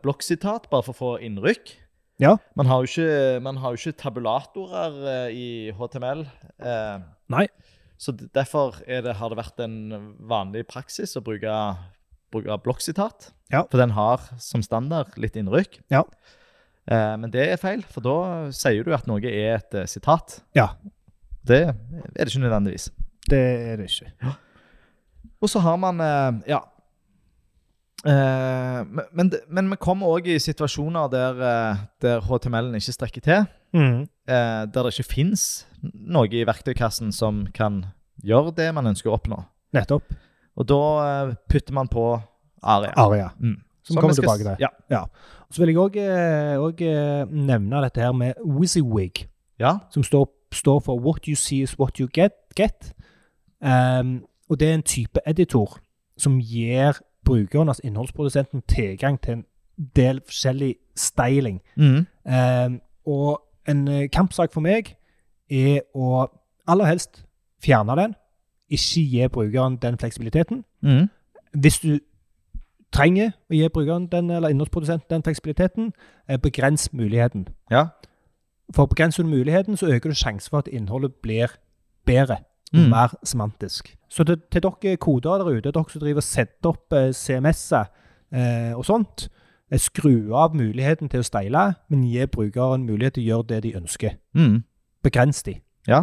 [SPEAKER 1] blokksitat bare for å få innrykk.
[SPEAKER 2] Ja.
[SPEAKER 1] Man har jo ikke, man har jo ikke tabulatorer eh, i HTML. Eh,
[SPEAKER 2] Nei.
[SPEAKER 1] Så d- derfor er det, har det vært en vanlig praksis å bruke, bruke blokksitat.
[SPEAKER 2] Ja.
[SPEAKER 1] For den har som standard litt innrykk.
[SPEAKER 2] Ja.
[SPEAKER 1] Eh, men det er feil, for da sier du at noe er et eh, sitat.
[SPEAKER 2] Ja.
[SPEAKER 1] Det er det ikke nødvendigvis.
[SPEAKER 2] Det er det ikke.
[SPEAKER 1] Og så har man eh, Ja. Eh, men- men, det- men vi kommer òg i situasjoner der, eh, der HTML-en ikke strekker til. eh, Der det ikke fins noe i verktøykassen som kan gjøre det man ønsker å oppnå.
[SPEAKER 2] Nettopp.
[SPEAKER 1] Og da eh, putter man på aria.
[SPEAKER 2] Aria.
[SPEAKER 1] Mm.
[SPEAKER 2] Som kommer
[SPEAKER 1] vi skal-
[SPEAKER 2] tilbake til.
[SPEAKER 1] Ja.
[SPEAKER 2] Så vil jeg òg eh, nevne dette her med WYSIWYG.
[SPEAKER 1] ja.
[SPEAKER 2] som står, står for What you see is what you get. get. Ehm, og det er en type editor som gir brukeren, altså innholdsprodusenten, tilgang til en del forskjellig styling.
[SPEAKER 1] Mm.
[SPEAKER 2] Ehm, og en eh, kampsak for meg er å aller helst fjerne den. Ikke gi brukeren den fleksibiliteten.
[SPEAKER 1] Mm.
[SPEAKER 2] Hvis du trenger å gi brukeren den, eller innholdsprodusenten den fleksibiliteten, eh, begrens muligheten.
[SPEAKER 1] ja.
[SPEAKER 2] For begrenser du muligheten, så øker du sjansen for at innholdet blir bedre og
[SPEAKER 1] Mm.
[SPEAKER 2] mer semantisk. Så til, til dere koder der ute, dere som driver og setter opp eh, CMS-er eh, og sånt, eh, skru av muligheten til å steile, men gi brukeren mulighet til å gjøre det de ønsker.
[SPEAKER 1] Mm.
[SPEAKER 2] Begrens de.
[SPEAKER 1] Ja.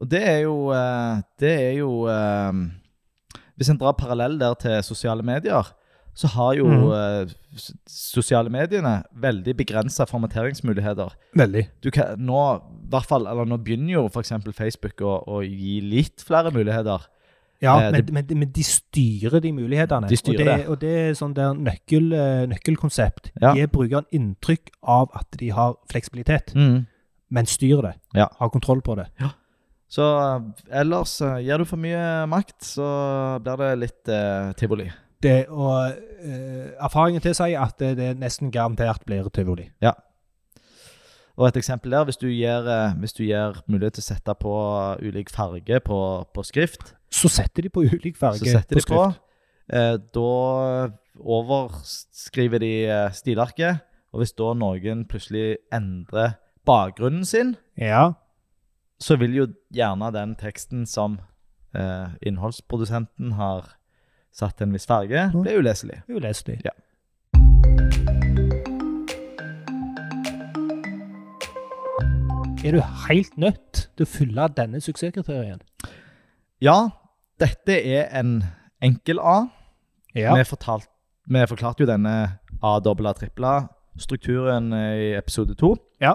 [SPEAKER 1] Og det er jo eh, Det er jo eh, Hvis en drar parallell der til sosiale medier, så har jo
[SPEAKER 2] Mhm.
[SPEAKER 1] eh, s- sosiale mediene veldig begrensa formateringsmuligheter.
[SPEAKER 2] Veldig.
[SPEAKER 1] Du kan, nå, i hvert fall, eller nå begynner jo f.eks. Facebook å, å gi litt flere muligheter.
[SPEAKER 2] Ja,
[SPEAKER 1] Eh,
[SPEAKER 2] men,
[SPEAKER 1] det-
[SPEAKER 2] men, men de styrer de mulighetene.
[SPEAKER 1] De styrer
[SPEAKER 2] og det.
[SPEAKER 1] det.
[SPEAKER 2] Og det er sånn der nøkkel, eh, nøkkelkonsept.
[SPEAKER 1] Ja.
[SPEAKER 2] Gi brukeren inntrykk av at de har fleksibilitet, men styr det.
[SPEAKER 1] Ja.
[SPEAKER 2] Ha kontroll på det.
[SPEAKER 1] Så eh, ellers eh, Gir du for mye makt, så blir det litt eh, tivoli.
[SPEAKER 2] det, og eh, erfaringen tilsier at det, det nesten garantert blir tivoli.
[SPEAKER 1] Og et eksempel der, hvis du gir, eh, hvis du gir mulighet til å sette på ulik farge på, på skrift,
[SPEAKER 2] Så setter de på ulik farge
[SPEAKER 1] Så setter
[SPEAKER 2] på
[SPEAKER 1] de på.
[SPEAKER 2] skrift.
[SPEAKER 1] Eh, da overskriver de eh, stilarket. Og hvis da noen plutselig endrer bakgrunnen sin,
[SPEAKER 2] Ja,
[SPEAKER 1] så vil jo gjerne den teksten som eh, innholdsprodusenten har satt en viss farge,
[SPEAKER 2] Mm.
[SPEAKER 1] bli uleselig.
[SPEAKER 2] uleselig.
[SPEAKER 1] Ja.
[SPEAKER 2] Er du helt nødt til å fylle denne suksesskriterien?
[SPEAKER 1] Ja, dette er en enkel A.
[SPEAKER 2] Ja.
[SPEAKER 1] Vi, fortalt, vi forklarte jo denne A-dobbel-A-tripla-strukturen eh, i episode 2.
[SPEAKER 2] Ja.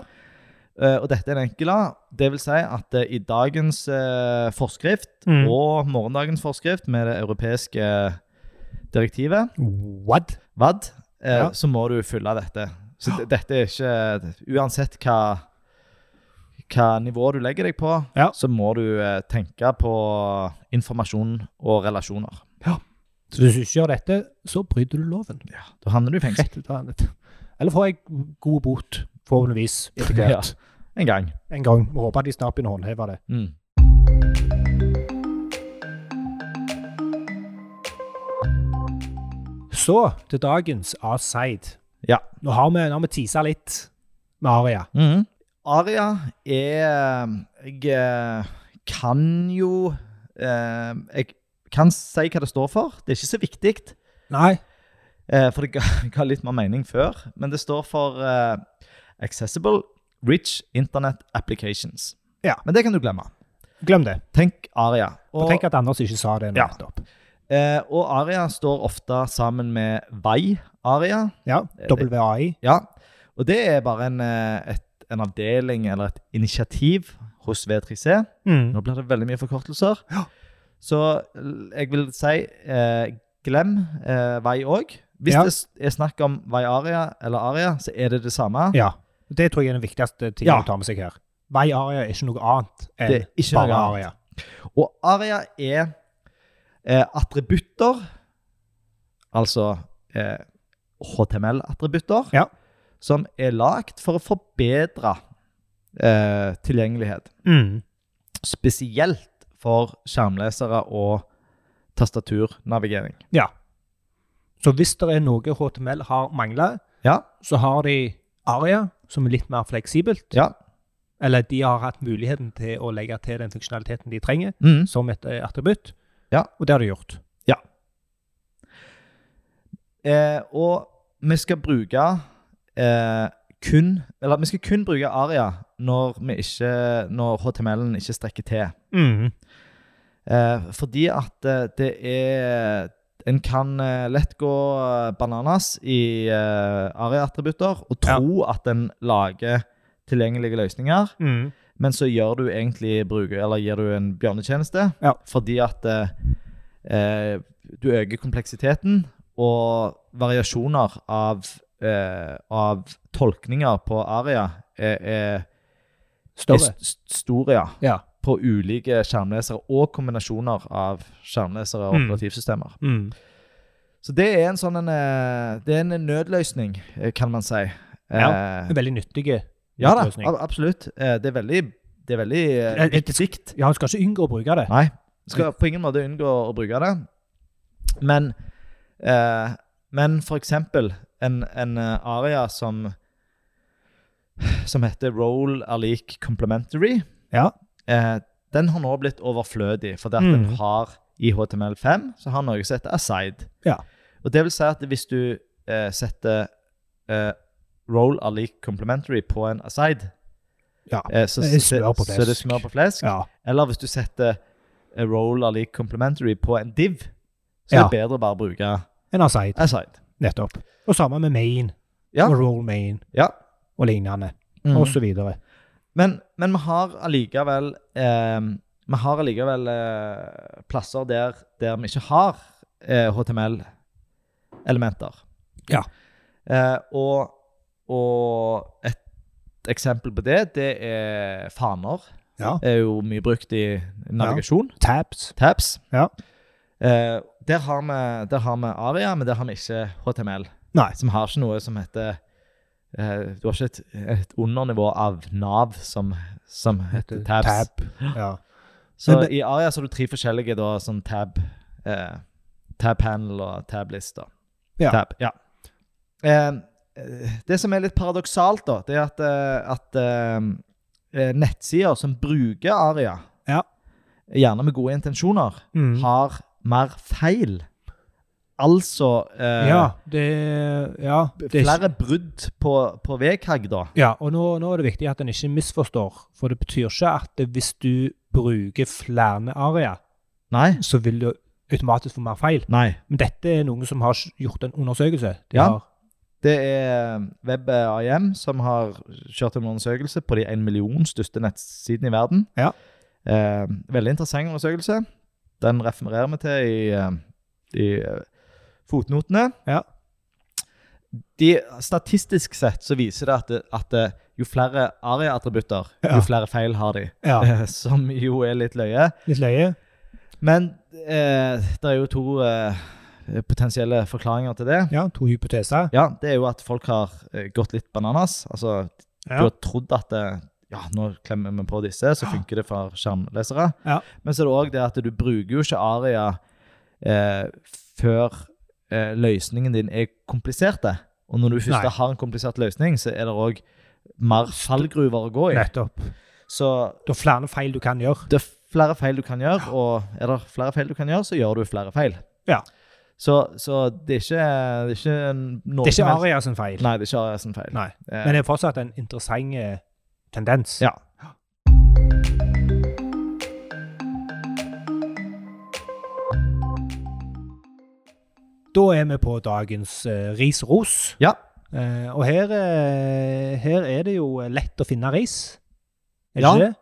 [SPEAKER 1] og dette er en enkel A. Det vil si at eh, i dagens eh, forskrift
[SPEAKER 2] Mm.
[SPEAKER 1] og morgendagens forskrift med det europeiske eh, direktivet,
[SPEAKER 2] What?
[SPEAKER 1] VAD, eh,
[SPEAKER 2] Ja.
[SPEAKER 1] så må du fylle dette. Så d- dette er ikke Uansett hva, hva nivå du legger deg på,
[SPEAKER 2] Ja.
[SPEAKER 1] så må du eh, tenke på informasjon og relasjoner.
[SPEAKER 2] Så hvis du ikke gjør dette, så bryter du loven.
[SPEAKER 1] Da havner du i fengsel
[SPEAKER 2] Rett ut av det. Eller får jeg god bot, forhåpentligvis,
[SPEAKER 1] (laughs)
[SPEAKER 2] etter hvert.
[SPEAKER 1] en gang.
[SPEAKER 2] En gang. Må håpe at de snart begynner å håndheve det.
[SPEAKER 1] Mm.
[SPEAKER 2] Så til dagens A-side.
[SPEAKER 1] Ja.
[SPEAKER 2] Nå har vi, nå har vi tisa litt med Aria.
[SPEAKER 1] Aria er Jeg eh, kan jo eh, Jeg kan si hva det står for. Det er ikke så viktig,
[SPEAKER 2] Nei.
[SPEAKER 1] eh, for det ga, (laughs) ga litt mer mening før. Men det står for eh, Accessible Rich Internet Applications.
[SPEAKER 2] Ja.
[SPEAKER 1] Men det kan du glemme.
[SPEAKER 2] Glem det.
[SPEAKER 1] Tenk aria.
[SPEAKER 2] Og tenk at Anders ikke sa det nå
[SPEAKER 1] Ja.
[SPEAKER 2] nettopp.
[SPEAKER 1] eh, og aria står ofte sammen med vai-aria.
[SPEAKER 2] Ja. WAI.
[SPEAKER 1] Ja, og det er bare en, eh, et, en avdeling eller et initiativ hos V3C.
[SPEAKER 2] Mm.
[SPEAKER 1] Nå blir det veldig mye forkortelser.
[SPEAKER 2] Ja.
[SPEAKER 1] Så l- jeg vil si eh, glem eh, vei òg. Hvis
[SPEAKER 2] Ja.
[SPEAKER 1] det s- er snakk om vei aria eller aria, så er det det samme.
[SPEAKER 2] Ja. Det tror jeg er den viktigste tingen
[SPEAKER 1] Ja.
[SPEAKER 2] å ta med seg her. Vei aria er ikke noe annet enn
[SPEAKER 1] Det er ikke noe
[SPEAKER 2] bare
[SPEAKER 1] annet.
[SPEAKER 2] aria.
[SPEAKER 1] Og aria er eh, attributter, altså eh, HTML-attributter,
[SPEAKER 2] Ja.
[SPEAKER 1] som er lagd for å forbedre eh, tilgjengelighet.
[SPEAKER 2] Mm.
[SPEAKER 1] Spesielt for skjermlesere og tastaturnavigering.
[SPEAKER 2] Ja. Så hvis det er noe HTML har mangla,
[SPEAKER 1] Ja,
[SPEAKER 2] så har de aria, som er litt mer fleksibelt.
[SPEAKER 1] ja.
[SPEAKER 2] Eller de har hatt muligheten til å legge til den funksjonaliteten de trenger,
[SPEAKER 1] Mm.
[SPEAKER 2] som et eh, attributt.
[SPEAKER 1] Ja.
[SPEAKER 2] Og det har de gjort.
[SPEAKER 1] Eh, og vi skal bruke eh, kun Eller vi skal kun bruke aria når, vi ikke, når HTML-en ikke strekker til. Mm-hmm.
[SPEAKER 2] Mm.
[SPEAKER 1] Eh, fordi at eh, det er En kan eh, lett gå eh, bananas i eh, aria-attributter og tro at en lager tilgjengelige løsninger,
[SPEAKER 2] Mm.
[SPEAKER 1] men så gjør du egentlig bruker, eller gir du en bjørnetjeneste
[SPEAKER 2] Ja.
[SPEAKER 1] fordi at eh, eh, du øker kompleksiteten og variasjoner av, eh, av tolkninger på aria er, er, er
[SPEAKER 2] Større.
[SPEAKER 1] st- st- store, ja
[SPEAKER 2] Ja.
[SPEAKER 1] på ulike skjermlesere og kombinasjoner av skjermlesere og
[SPEAKER 2] Mm.
[SPEAKER 1] operativsystemer.
[SPEAKER 2] Mm.
[SPEAKER 1] Så det er en sånn en, eh, det er en nødløsning, eh, kan man si.
[SPEAKER 2] Ja,
[SPEAKER 1] Eh,
[SPEAKER 2] Veldig nyttige.
[SPEAKER 1] ja da,
[SPEAKER 2] løsning.
[SPEAKER 1] ab- absolutt. Eh, Det er veldig, det er veldig eh,
[SPEAKER 2] Eh, eh,
[SPEAKER 1] viktig.
[SPEAKER 2] Ja, han skal ikke unngå å bruke det.
[SPEAKER 1] Nei, skal på ingen måte unngå å bruke det. Men, eh, men for eksempel en, en eh, aria som, som heter Role are like complementary.
[SPEAKER 2] Ja.
[SPEAKER 1] Eh, den har nå blitt overflødig, fordi at den
[SPEAKER 2] Mhm.
[SPEAKER 1] har i HTML5 så har noe som heter aside.
[SPEAKER 2] Ja.
[SPEAKER 1] Og det vil si at hvis du eh, setter eh, role are like complementary på en aside,
[SPEAKER 2] Ja.
[SPEAKER 1] eh, så,
[SPEAKER 2] Det er smør på
[SPEAKER 1] så er det
[SPEAKER 2] flesk.
[SPEAKER 1] smør på flesk.
[SPEAKER 2] Ja.
[SPEAKER 1] Eller hvis du setter eh, role are like complementary på en div, så
[SPEAKER 2] Ja.
[SPEAKER 1] er det bedre å bare bruke
[SPEAKER 2] En har sagt.
[SPEAKER 1] aside.
[SPEAKER 2] Nettopp. Og samme med main,
[SPEAKER 1] Ja.
[SPEAKER 2] og roll main,
[SPEAKER 1] Ja.
[SPEAKER 2] og lignende,
[SPEAKER 1] Mhm.
[SPEAKER 2] og så videre.
[SPEAKER 1] Men, men vi har allikevel eh, Vi har allikevel eh, plasser der, der vi ikke har eh, HTML-elementer.
[SPEAKER 2] Ja.
[SPEAKER 1] Eh, og, og et eksempel på det, det er faner.
[SPEAKER 2] Ja.
[SPEAKER 1] Det er jo mye brukt i navigasjon.
[SPEAKER 2] Tabs.
[SPEAKER 1] Tabs.
[SPEAKER 2] Ja.
[SPEAKER 1] Eh, der, har vi, der har vi aria, men der har vi ikke HTML.
[SPEAKER 2] Nei.
[SPEAKER 1] Som har ikke noe som heter eh, Du har ikke et, et undernivå av Nav som, som heter tabs.
[SPEAKER 2] Tab. Ja.
[SPEAKER 1] Så
[SPEAKER 2] Men det-
[SPEAKER 1] i aria så har du tre forskjellige da, sånn tab. Eh, tab panel og tab list. Da.
[SPEAKER 2] Ja.
[SPEAKER 1] Tab, ja. Eh, eh, det som er litt paradoksalt, da, det er at, eh, at eh, eh, nettsider som bruker aria,
[SPEAKER 2] Ja.
[SPEAKER 1] gjerne med gode intensjoner,
[SPEAKER 2] Mm.
[SPEAKER 1] har mer feil. Altså eh,
[SPEAKER 2] ja, det Ja. Det er ikke,
[SPEAKER 1] flere brudd på, på VKG, da.
[SPEAKER 2] ja og nå, nå er det viktig at en ikke misforstår, for det betyr ikke at det- hvis du bruker flere aria,
[SPEAKER 1] Nei.
[SPEAKER 2] så vil du automatisk få mer feil.
[SPEAKER 1] Nei.
[SPEAKER 2] Men dette er noen som har gjort en undersøkelse. De
[SPEAKER 1] Ja.
[SPEAKER 2] har
[SPEAKER 1] Det er um, WebAIM som har kjørt en undersøkelse på de 1 million største nettsidene i verden.
[SPEAKER 2] Ja.
[SPEAKER 1] Eh, veldig interessant undersøkelse. Den refererer vi til i, eh, i eh, fotnotene.
[SPEAKER 2] Ja.
[SPEAKER 1] De, statistisk sett så viser det at, det- at det, jo flere aria-attributter,
[SPEAKER 2] Ja.
[SPEAKER 1] jo flere feil har de.
[SPEAKER 2] ja.
[SPEAKER 1] Eh, (laughs) Som jo er litt løye.
[SPEAKER 2] litt løye.
[SPEAKER 1] Men eh, det er jo to eh, potensielle forklaringer til det.
[SPEAKER 2] Ja, to hypoteser.
[SPEAKER 1] Ja, det er jo at folk har eh, gått litt bananas. Altså, du
[SPEAKER 2] Ja.
[SPEAKER 1] har trodd at eh, ja, nå klemmer vi på disse, så funker det for skjermlesere.
[SPEAKER 2] Ja.
[SPEAKER 1] Men så er det òg det at du bruker jo ikke aria eh, før eh, løsningen din er kompliserte. Og når du først
[SPEAKER 2] Nei.
[SPEAKER 1] har en komplisert løsning, så er det òg mer fallgruver å gå i.
[SPEAKER 2] Nettopp.
[SPEAKER 1] Så
[SPEAKER 2] Det er flere feil du kan gjøre.
[SPEAKER 1] det er flere feil du kan gjøre, og er det flere feil du kan gjøre, så gjør du flere feil.
[SPEAKER 2] Ja.
[SPEAKER 1] Så, så det er ikke, det er ikke noe
[SPEAKER 2] Det er
[SPEAKER 1] som
[SPEAKER 2] ikke
[SPEAKER 1] helst-
[SPEAKER 2] aria sin feil.
[SPEAKER 1] Nei, det er ikke aria sin feil.
[SPEAKER 2] Nei.
[SPEAKER 1] Eh,
[SPEAKER 2] Men det er fortsatt en interessant eh, tendens.
[SPEAKER 1] Ja.
[SPEAKER 2] Da er vi på dagens eh, ris-ros.
[SPEAKER 1] Ja.
[SPEAKER 2] Eh, og her, eh, her er det jo lett å finne ris. Er det
[SPEAKER 1] Ja.
[SPEAKER 2] ikke det?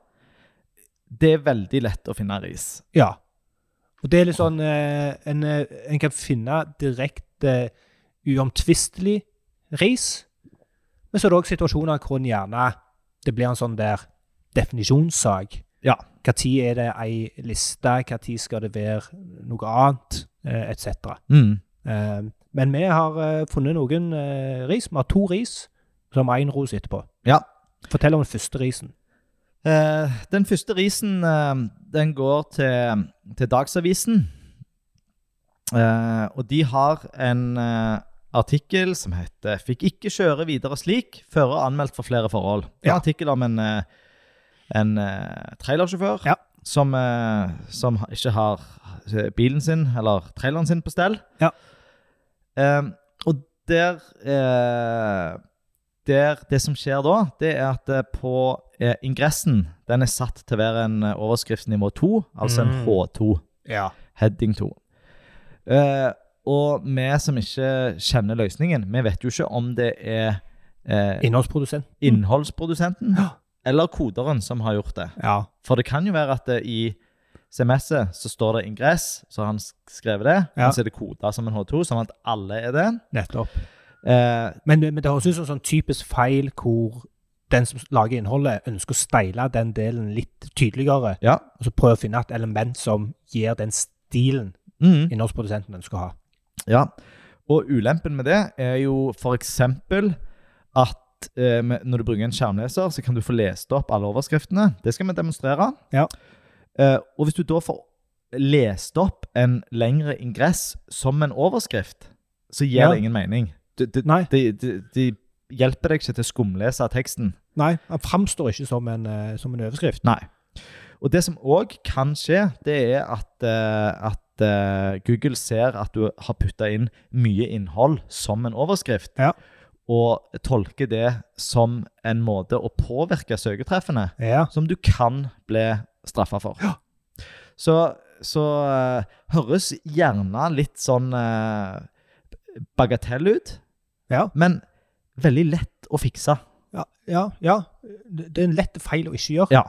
[SPEAKER 1] Det er veldig lett å finne ris.
[SPEAKER 2] Ja. Og det er litt sånn eh, en, eh, en kan finne direkte eh, uomtvistelig ris. Men så er det òg situasjoner hvor en gjerne Det blir en sånn der definisjonssak.
[SPEAKER 1] Ja.
[SPEAKER 2] Når er det ei liste? Når skal det være noe annet? Eh, Etc.
[SPEAKER 1] Mm.
[SPEAKER 2] Eh, men vi har eh, funnet noen eh, ris. Vi har to ris, så har vi én ros etterpå.
[SPEAKER 1] Ja.
[SPEAKER 2] Fortell om den første risen.
[SPEAKER 1] Eh, den første risen eh, den går til, til Dagsavisen. Eh, og de har en eh, artikkel som heter 'Fikk ikke kjøre videre slik', fører anmeldt for flere forhold. Det er
[SPEAKER 2] Ja.
[SPEAKER 1] En artikkel om en, eh, en eh, trailersjåfør
[SPEAKER 2] Ja.
[SPEAKER 1] som, eh, som ikke har bilen sin eller traileren sin på stell.
[SPEAKER 2] Ja.
[SPEAKER 1] Eh, og der eh, der det som skjer da, det er at eh, på eh, ingressen, den er satt til å være en eh, overskrift nivå 2, altså en
[SPEAKER 2] Mm.
[SPEAKER 1] H2,
[SPEAKER 2] Ja.
[SPEAKER 1] heading 2. Eh, og vi som ikke kjenner løsningen, vi vet jo ikke om det er eh,
[SPEAKER 2] Innholdsprodusent.
[SPEAKER 1] innholdsprodusenten
[SPEAKER 2] Ja.
[SPEAKER 1] eller koderen som har gjort det.
[SPEAKER 2] Ja.
[SPEAKER 1] For det kan jo være at det, i CMS-et så står det ingress, så har han sk- skrevet det,
[SPEAKER 2] Ja.
[SPEAKER 1] men så er det koda som en H2, sånn at alle er det.
[SPEAKER 2] Nettopp.
[SPEAKER 1] Eh,
[SPEAKER 2] Men, men det høres ut som en sånn typisk feil hvor den som lager innholdet, ønsker å steile den delen litt tydeligere,
[SPEAKER 1] ja.
[SPEAKER 2] og så prøve å finne et element som gir den stilen
[SPEAKER 1] Mm.
[SPEAKER 2] innholdsprodusenten ønsker å ha.
[SPEAKER 1] Ja, og ulempen med det er jo for eksempel at eh, med- når du bruker en skjermleser, så kan du få lest opp alle overskriftene. Det skal vi demonstrere.
[SPEAKER 2] Ja.
[SPEAKER 1] Eh, og hvis du da får lest opp en lengre ingress som en overskrift, så gir
[SPEAKER 2] Ja.
[SPEAKER 1] det ingen mening. De, de,
[SPEAKER 2] Nei.
[SPEAKER 1] de, de, de hjelper deg ikke til å skumlese teksten.
[SPEAKER 2] Nei, han framstår ikke som en, eh, som en overskrift.
[SPEAKER 1] Nei. Og det som òg kan skje, det er at, eh, at eh, Google ser at du har putta inn mye innhold som en overskrift,
[SPEAKER 2] Ja.
[SPEAKER 1] og tolker det som en måte å påvirke søketreffene,
[SPEAKER 2] Ja.
[SPEAKER 1] som du kan bli straffa for. Så, så eh, høres gjerne litt sånn eh, bagatell ut,
[SPEAKER 2] Ja.
[SPEAKER 1] men veldig lett å fikse.
[SPEAKER 2] Ja, ja, ja. Det det er en lett feil å ikke gjøre.
[SPEAKER 1] Ja.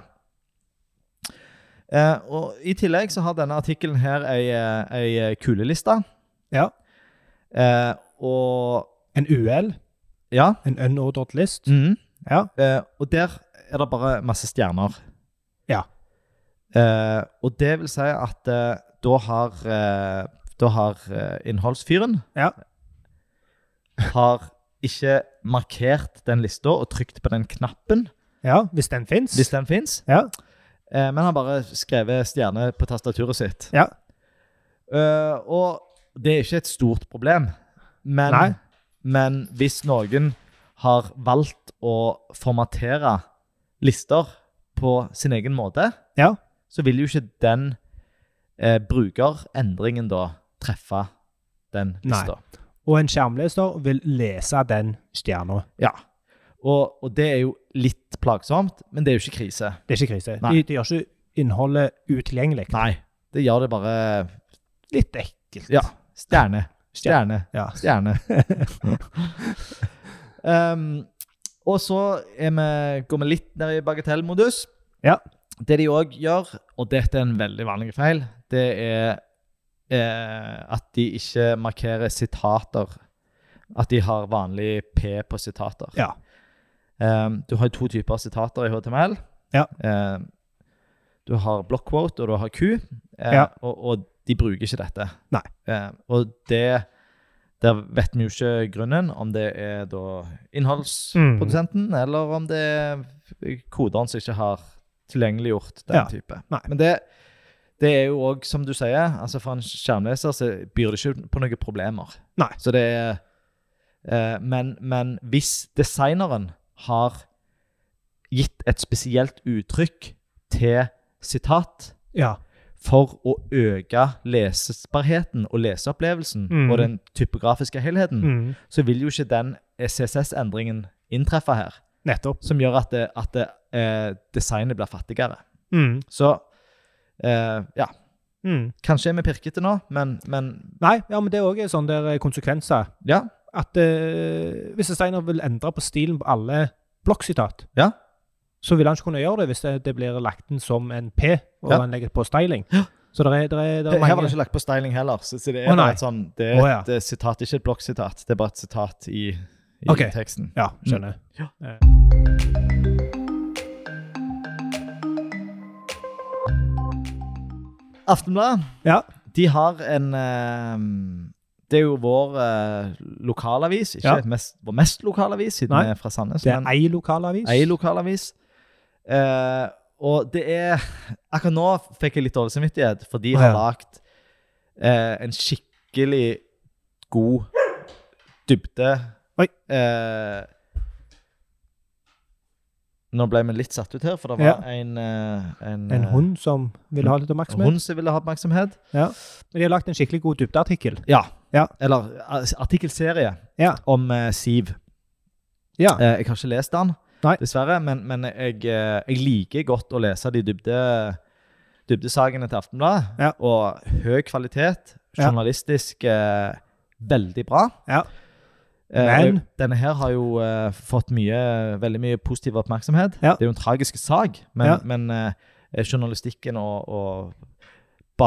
[SPEAKER 1] Eh, og I tillegg så har denne artikkelen her ei, eh, ei kuleliste.
[SPEAKER 2] Ja.
[SPEAKER 1] Eh, og
[SPEAKER 2] En UL,
[SPEAKER 1] ja.
[SPEAKER 2] en unordered list.
[SPEAKER 1] mhm.
[SPEAKER 2] Ja.
[SPEAKER 1] Eh, og der er det bare masse stjerner.
[SPEAKER 2] Ja.
[SPEAKER 1] Eh, og det vil si at eh, da har, eh, da har eh, innholdsfyren
[SPEAKER 2] Ja.
[SPEAKER 1] Har ikke markert den lista og trykt på den knappen,
[SPEAKER 2] Ja, hvis den fins.
[SPEAKER 1] hvis den fins.
[SPEAKER 2] Ja.
[SPEAKER 1] Eh, men han bare skrevet stjerne på tastaturet sitt.
[SPEAKER 2] Ja.
[SPEAKER 1] Eh, og det er ikke et stort problem, men,
[SPEAKER 2] Nei.
[SPEAKER 1] men hvis noen har valgt å formatere lister på sin egen måte,
[SPEAKER 2] Ja.
[SPEAKER 1] så vil jo ikke den eh, brukerendringen da treffe den
[SPEAKER 2] Nei.
[SPEAKER 1] lista.
[SPEAKER 2] Og en skjermleser vil lese den stjerna.
[SPEAKER 1] Ja. Og, og det er jo litt plagsomt, men det er jo ikke krise.
[SPEAKER 2] Det er ikke krise.
[SPEAKER 1] Nei.
[SPEAKER 2] De, de gjør ikke innholdet utilgjengelig.
[SPEAKER 1] Nei. Det gjør det bare
[SPEAKER 2] Litt ekkelt.
[SPEAKER 1] Ja. Stjerne. Stjerne.
[SPEAKER 2] Ja.
[SPEAKER 1] Stjerne. um, og så er vi, går vi litt ned i bagatellmodus.
[SPEAKER 2] Ja.
[SPEAKER 1] Det de òg gjør, og dette er en veldig vanlig feil, det er eh, at de ikke markerer sitater. At de har vanlig P på sitater.
[SPEAKER 2] Ja.
[SPEAKER 1] Um, du har jo to typer sitater i HTML.
[SPEAKER 2] Ja.
[SPEAKER 1] Um, du har blockquote, og du har Q, eh,
[SPEAKER 2] Ja.
[SPEAKER 1] og, og de bruker ikke dette.
[SPEAKER 2] Nei.
[SPEAKER 1] Eh, og det Der vet vi jo ikke grunnen, om det er da innholdsprodusenten,
[SPEAKER 2] Mm.
[SPEAKER 1] eller om det er koderen som ikke har tilgjengeliggjort den
[SPEAKER 2] Ja.
[SPEAKER 1] type.
[SPEAKER 2] Nei.
[SPEAKER 1] Men det, det er jo òg, som du sier, altså for en skjermleser så byr det ikke på noen problemer.
[SPEAKER 2] Nei.
[SPEAKER 1] Så det er eh, men, men hvis designeren har gitt et spesielt uttrykk til sitat
[SPEAKER 2] Ja.
[SPEAKER 1] for å øke lesbarheten og leseopplevelsen
[SPEAKER 2] Mm.
[SPEAKER 1] og den typografiske helheten,
[SPEAKER 2] Mm.
[SPEAKER 1] så vil jo ikke den CSS-endringen inntreffe her,
[SPEAKER 2] Nettopp.
[SPEAKER 1] som gjør at, det, at det, eh, designet blir fattigere.
[SPEAKER 2] Mm.
[SPEAKER 1] Så eh, ja.
[SPEAKER 2] Mm.
[SPEAKER 1] Kanskje er vi pirkete nå, men, men
[SPEAKER 2] Nei, ja, men det er òg sånn der eh, konsekvenser.
[SPEAKER 1] ja.
[SPEAKER 2] At eh, hvis Steiner vil endre på stilen på alle blokksitat,
[SPEAKER 1] Ja.
[SPEAKER 2] så vil han ikke kunne gjøre det hvis det, det blir lagt inn som en P, og
[SPEAKER 1] Ja.
[SPEAKER 2] han legger på styling. Så det er, der er, der
[SPEAKER 1] Her
[SPEAKER 2] er
[SPEAKER 1] var det
[SPEAKER 2] mange
[SPEAKER 1] ikke lagt på styling heller. Så, så det er
[SPEAKER 2] Å, nei.
[SPEAKER 1] bare et sånn, det er
[SPEAKER 2] Å, ja.
[SPEAKER 1] et eh, sitat, ikke et blokksitat. Det er bare et sitat i, i
[SPEAKER 2] Ok.
[SPEAKER 1] teksten.
[SPEAKER 2] Ja, skjønner.
[SPEAKER 1] Ja.
[SPEAKER 2] Eh.
[SPEAKER 1] Aftenbladet
[SPEAKER 2] Ja.
[SPEAKER 1] de har en eh, Det er jo vår eh, lokalavis, ikke
[SPEAKER 2] Ja.
[SPEAKER 1] mest, vår mest lokalavis, siden
[SPEAKER 2] Nei.
[SPEAKER 1] vi er fra Sandnes.
[SPEAKER 2] Det er
[SPEAKER 1] men-
[SPEAKER 2] ei lokalavis.
[SPEAKER 1] Ei lokalavis. Eh, og det er Akkurat nå fikk jeg litt dårlig samvittighet, for de
[SPEAKER 2] Å,
[SPEAKER 1] har
[SPEAKER 2] ja.
[SPEAKER 1] lagt eh, en skikkelig god dybde
[SPEAKER 2] Oi.
[SPEAKER 1] Eh, nå ble vi litt satt ut her, for det
[SPEAKER 2] Ja.
[SPEAKER 1] var en, eh, en
[SPEAKER 2] en
[SPEAKER 1] eh,
[SPEAKER 2] hund som vil ha litt
[SPEAKER 1] en
[SPEAKER 2] oppmerksomhet.
[SPEAKER 1] hund som ville ha oppmerksomhet.
[SPEAKER 2] Men de har lagt en skikkelig god dybdeartikkel.
[SPEAKER 1] Ja.
[SPEAKER 2] Ja.
[SPEAKER 1] Eller eh, artikkelserie
[SPEAKER 2] Ja.
[SPEAKER 1] om eh, Siv.
[SPEAKER 2] Ja.
[SPEAKER 1] Eh, jeg har ikke lest den,
[SPEAKER 2] Nei.
[SPEAKER 1] dessverre, men, men jeg, eh, jeg liker godt å lese de dybde, dybdesakene til Aftenbladet.
[SPEAKER 2] Ja.
[SPEAKER 1] Og høy kvalitet,
[SPEAKER 2] Ja.
[SPEAKER 1] journalistisk eh, veldig bra.
[SPEAKER 2] Ja.
[SPEAKER 1] Eh,
[SPEAKER 2] Men-
[SPEAKER 1] og denne her har jo eh, fått mye, veldig mye positiv oppmerksomhet.
[SPEAKER 2] Ja.
[SPEAKER 1] Det er jo en tragisk sak, men,
[SPEAKER 2] Ja.
[SPEAKER 1] men eh, journalistikken og, og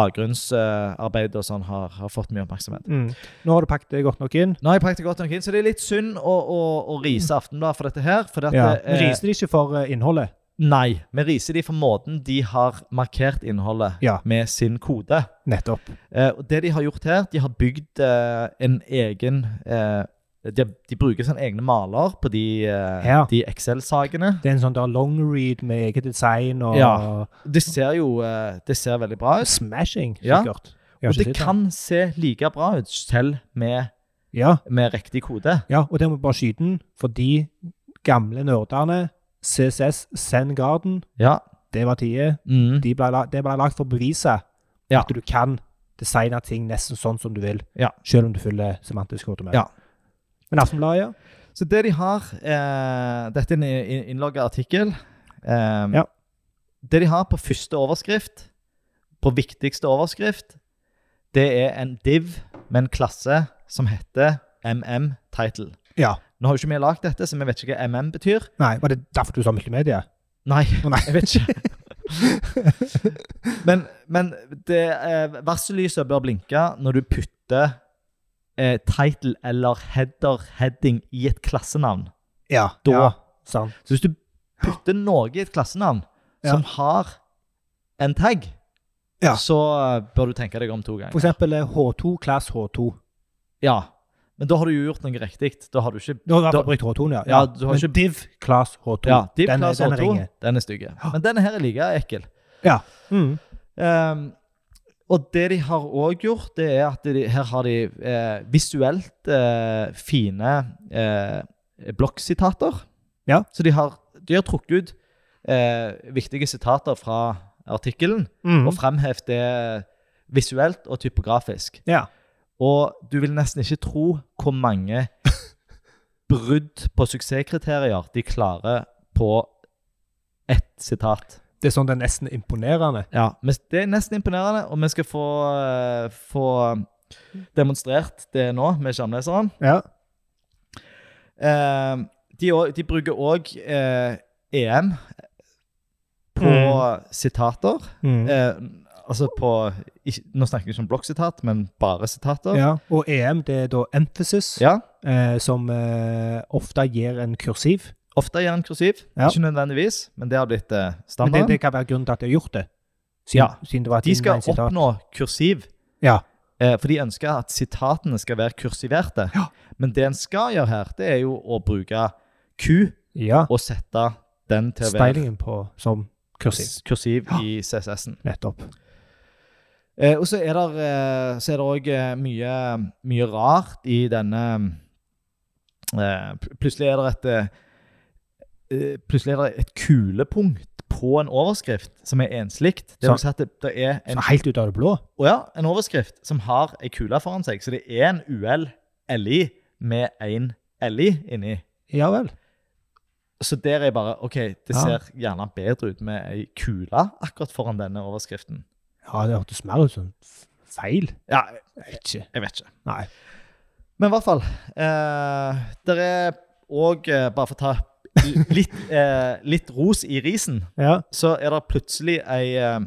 [SPEAKER 1] bakgrunnsarbeidet og sånn har, har fått mye oppmerksomhet.
[SPEAKER 2] Mm. Nå har du pakket det godt nok inn.
[SPEAKER 1] Nå har jeg pakket godt nok inn, så det er litt synd å, å, å rise Aftenbladet for dette her. For at,
[SPEAKER 2] Ja.
[SPEAKER 1] eh,
[SPEAKER 2] Men riser de ikke for eh, innholdet?
[SPEAKER 1] Nei, vi riser de for måten de har markert innholdet
[SPEAKER 2] Ja.
[SPEAKER 1] med sin kode.
[SPEAKER 2] Nettopp.
[SPEAKER 1] Eh, og det de har gjort her, de har bygd eh, en egen eh, de, de bruker sånne egne maler på de, eh,
[SPEAKER 2] Ja.
[SPEAKER 1] de Excel-sakene.
[SPEAKER 2] Det er en sånn der long read med eget design og
[SPEAKER 1] Ja. Det ser jo eh, det ser veldig bra ut.
[SPEAKER 2] smashing,
[SPEAKER 1] Ja.
[SPEAKER 2] sikkert. Jeg har
[SPEAKER 1] Og
[SPEAKER 2] ikke
[SPEAKER 1] det
[SPEAKER 2] sett den.
[SPEAKER 1] kan se like bra ut selv med,
[SPEAKER 2] Ja.
[SPEAKER 1] med riktig kode.
[SPEAKER 2] ja, og det må vi bare skyte den, for de gamle nerdene, CCS, Zen Garden,
[SPEAKER 1] Ja.
[SPEAKER 2] det var tide.
[SPEAKER 1] Mm.
[SPEAKER 2] De ble, la- det ble lagt for å bevise
[SPEAKER 1] Ja.
[SPEAKER 2] at du kan designe ting nesten sånn som du vil,
[SPEAKER 1] Ja.
[SPEAKER 2] selv om du følger semantisk kode med.
[SPEAKER 1] Ja.
[SPEAKER 2] Men Aftenbladet, ja.
[SPEAKER 1] Så det de har eh, Dette er en i- innlogget artikkel. Eh,
[SPEAKER 2] Ja.
[SPEAKER 1] Det de har på første overskrift, på viktigste overskrift, det er en div med en klasse som heter MM-title.
[SPEAKER 2] Ja.
[SPEAKER 1] Nå har jo ikke vi lagd dette, så vi vet ikke hva MM betyr.
[SPEAKER 2] Nei, var det derfor du sa multimedia?
[SPEAKER 1] Nei,
[SPEAKER 2] Å, nei.
[SPEAKER 1] jeg vet ikke. (laughs) men men det, eh, varsellyset bør blinke når du putter eh, title eller header, heading, i et klassenavn.
[SPEAKER 2] Ja.
[SPEAKER 1] Da
[SPEAKER 2] ja. sant.
[SPEAKER 1] Så hvis du putter noe i et klassenavn
[SPEAKER 2] Ja.
[SPEAKER 1] som har en tag,
[SPEAKER 2] Ja.
[SPEAKER 1] så eh, bør du tenke deg om to
[SPEAKER 2] For
[SPEAKER 1] ganger.
[SPEAKER 2] eksempel eh, H2, class H2.
[SPEAKER 1] Ja, Men da har du jo gjort noe riktig. Da har du ikke
[SPEAKER 2] Du har i hvert
[SPEAKER 1] Da-
[SPEAKER 2] fall brukt H2, ja.
[SPEAKER 1] Ja, du har
[SPEAKER 2] Men
[SPEAKER 1] ikke-
[SPEAKER 2] div, class H2.
[SPEAKER 1] ja, Deep
[SPEAKER 2] den,
[SPEAKER 1] Class
[SPEAKER 2] den
[SPEAKER 1] H2,
[SPEAKER 2] ringer.
[SPEAKER 1] den er stygg. Men denne her er like ekkel.
[SPEAKER 2] Ja. Mm.
[SPEAKER 1] Ehm, og det de har òg gjort, det er at de, her har de eh, visuelt eh, fine eh, blokksitater.
[SPEAKER 2] Ja.
[SPEAKER 1] Så de har, de har trukket ut eh, viktige sitater fra artikkelen.
[SPEAKER 2] Mm.
[SPEAKER 1] og fremhev det visuelt og typografisk.
[SPEAKER 2] Ja.
[SPEAKER 1] Og du vil nesten ikke tro hvor
[SPEAKER 2] (laughs)
[SPEAKER 1] mange brudd på suksesskriterier de klarer på ett sitat.
[SPEAKER 2] Det er sånn det er nesten imponerende.
[SPEAKER 1] Ja, men Det er nesten imponerende, og vi skal få, eh, få demonstrert det nå med skjermleseren.
[SPEAKER 2] Ja.
[SPEAKER 1] Eh, de, å- de bruker òg eh, EM på
[SPEAKER 2] Mm.
[SPEAKER 1] sitater.
[SPEAKER 2] Mm.
[SPEAKER 1] Eh, altså på ikke, Nå snakker jeg ikke om blokksitat, men bare sitater.
[SPEAKER 2] ja. Og EM, det er da emphasis,
[SPEAKER 1] Ja,
[SPEAKER 2] eh, som eh, ofte gir en kursiv.
[SPEAKER 1] Ofte gjennom kursiv.
[SPEAKER 2] Ja.
[SPEAKER 1] Ikke nødvendigvis, men det har blitt eh,
[SPEAKER 2] Men det,
[SPEAKER 1] standarden.
[SPEAKER 2] det kan være grunnen til at de har gjort det. Siden,
[SPEAKER 1] Ja.
[SPEAKER 2] siden det var et
[SPEAKER 1] de skal
[SPEAKER 2] innleiesitat.
[SPEAKER 1] oppnå kursiv,
[SPEAKER 2] Ja.
[SPEAKER 1] eh, for de ønsker at sitatene skal være kursiverte.
[SPEAKER 2] Ja.
[SPEAKER 1] Men det en skal gjøre her, det er jo å bruke Q
[SPEAKER 2] ja.
[SPEAKER 1] og sette den til å være
[SPEAKER 2] Stylingen på som kursiv.
[SPEAKER 1] s- kursiv
[SPEAKER 2] Ja.
[SPEAKER 1] i CSS-en.
[SPEAKER 2] Nettopp.
[SPEAKER 1] Eh, og så er det eh, så er det òg eh, mye, mye rart i denne eh, pl- Plutselig er det et eh, eh, Plutselig er det et kulepunkt på en overskrift som er enslikt. Det
[SPEAKER 2] Så-
[SPEAKER 1] vil si at det, det er en,
[SPEAKER 2] Så helt ut av det blå.
[SPEAKER 1] Å ja, en overskrift som har ei kule foran seg, så det er en UL-LI med én LI inni.
[SPEAKER 2] Ja vel.
[SPEAKER 1] Så der er jeg bare OK, det
[SPEAKER 2] Ja.
[SPEAKER 1] ser gjerne bedre ut med ei kule akkurat foran denne overskriften.
[SPEAKER 2] Ja, det hørtes mer ut som f- feil.
[SPEAKER 1] Ja,
[SPEAKER 2] Jeg vet ikke.
[SPEAKER 1] jeg vet ikke.
[SPEAKER 2] Nei.
[SPEAKER 1] Men i hvert fall eh, Det er òg, eh, bare for å ta l- litt, (laughs) eh, litt ros i risen,
[SPEAKER 2] Ja.
[SPEAKER 1] så er det plutselig ei, eh,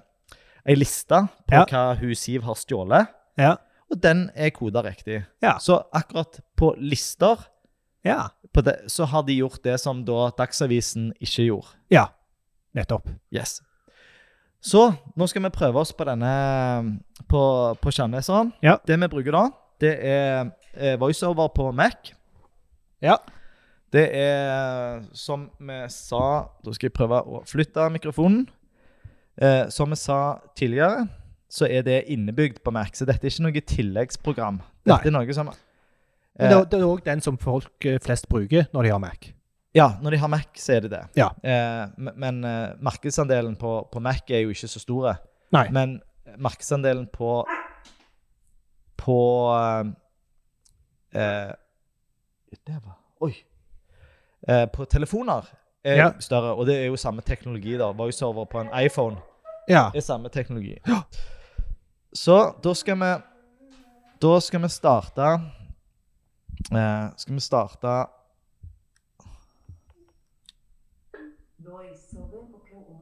[SPEAKER 1] ei liste på
[SPEAKER 2] Ja.
[SPEAKER 1] hva hun Siv har stjålet,
[SPEAKER 2] Ja.
[SPEAKER 1] og den er koda riktig.
[SPEAKER 2] Ja.
[SPEAKER 1] Så akkurat på lister
[SPEAKER 2] Ja.
[SPEAKER 1] på det, så har de gjort det som da Dagsavisen ikke gjorde.
[SPEAKER 2] ja. Nettopp.
[SPEAKER 1] Yes. Så nå skal vi prøve oss på denne på, på skjermleseren.
[SPEAKER 2] Ja.
[SPEAKER 1] Det vi bruker da, det er eh, voiceover på Mac.
[SPEAKER 2] Ja.
[SPEAKER 1] Det er som vi sa Da skal jeg prøve å flytte mikrofonen. Eh, som vi sa tidligere, så er det innebygd på Mac. Så dette er ikke noe tilleggsprogram. Dette er noe som
[SPEAKER 2] Men det, er- det er òg den som folk eh, flest bruker når de har Mac.
[SPEAKER 1] Ja, når de har Mac, så er det det.
[SPEAKER 2] Ja.
[SPEAKER 1] Eh, m- men eh, markedsandelen på, på Mac er jo ikke så store.
[SPEAKER 2] Nei.
[SPEAKER 1] Men markedsandelen på På eh, eh, Der var Oi. Eh, på telefoner er
[SPEAKER 2] Ja.
[SPEAKER 1] større, og det er jo samme teknologi. da. VoiceOver på en iPhone
[SPEAKER 2] Ja.
[SPEAKER 1] er samme teknologi. Så da skal vi Da skal vi starte eh, Skal vi starte
[SPEAKER 3] Voiceover på KO.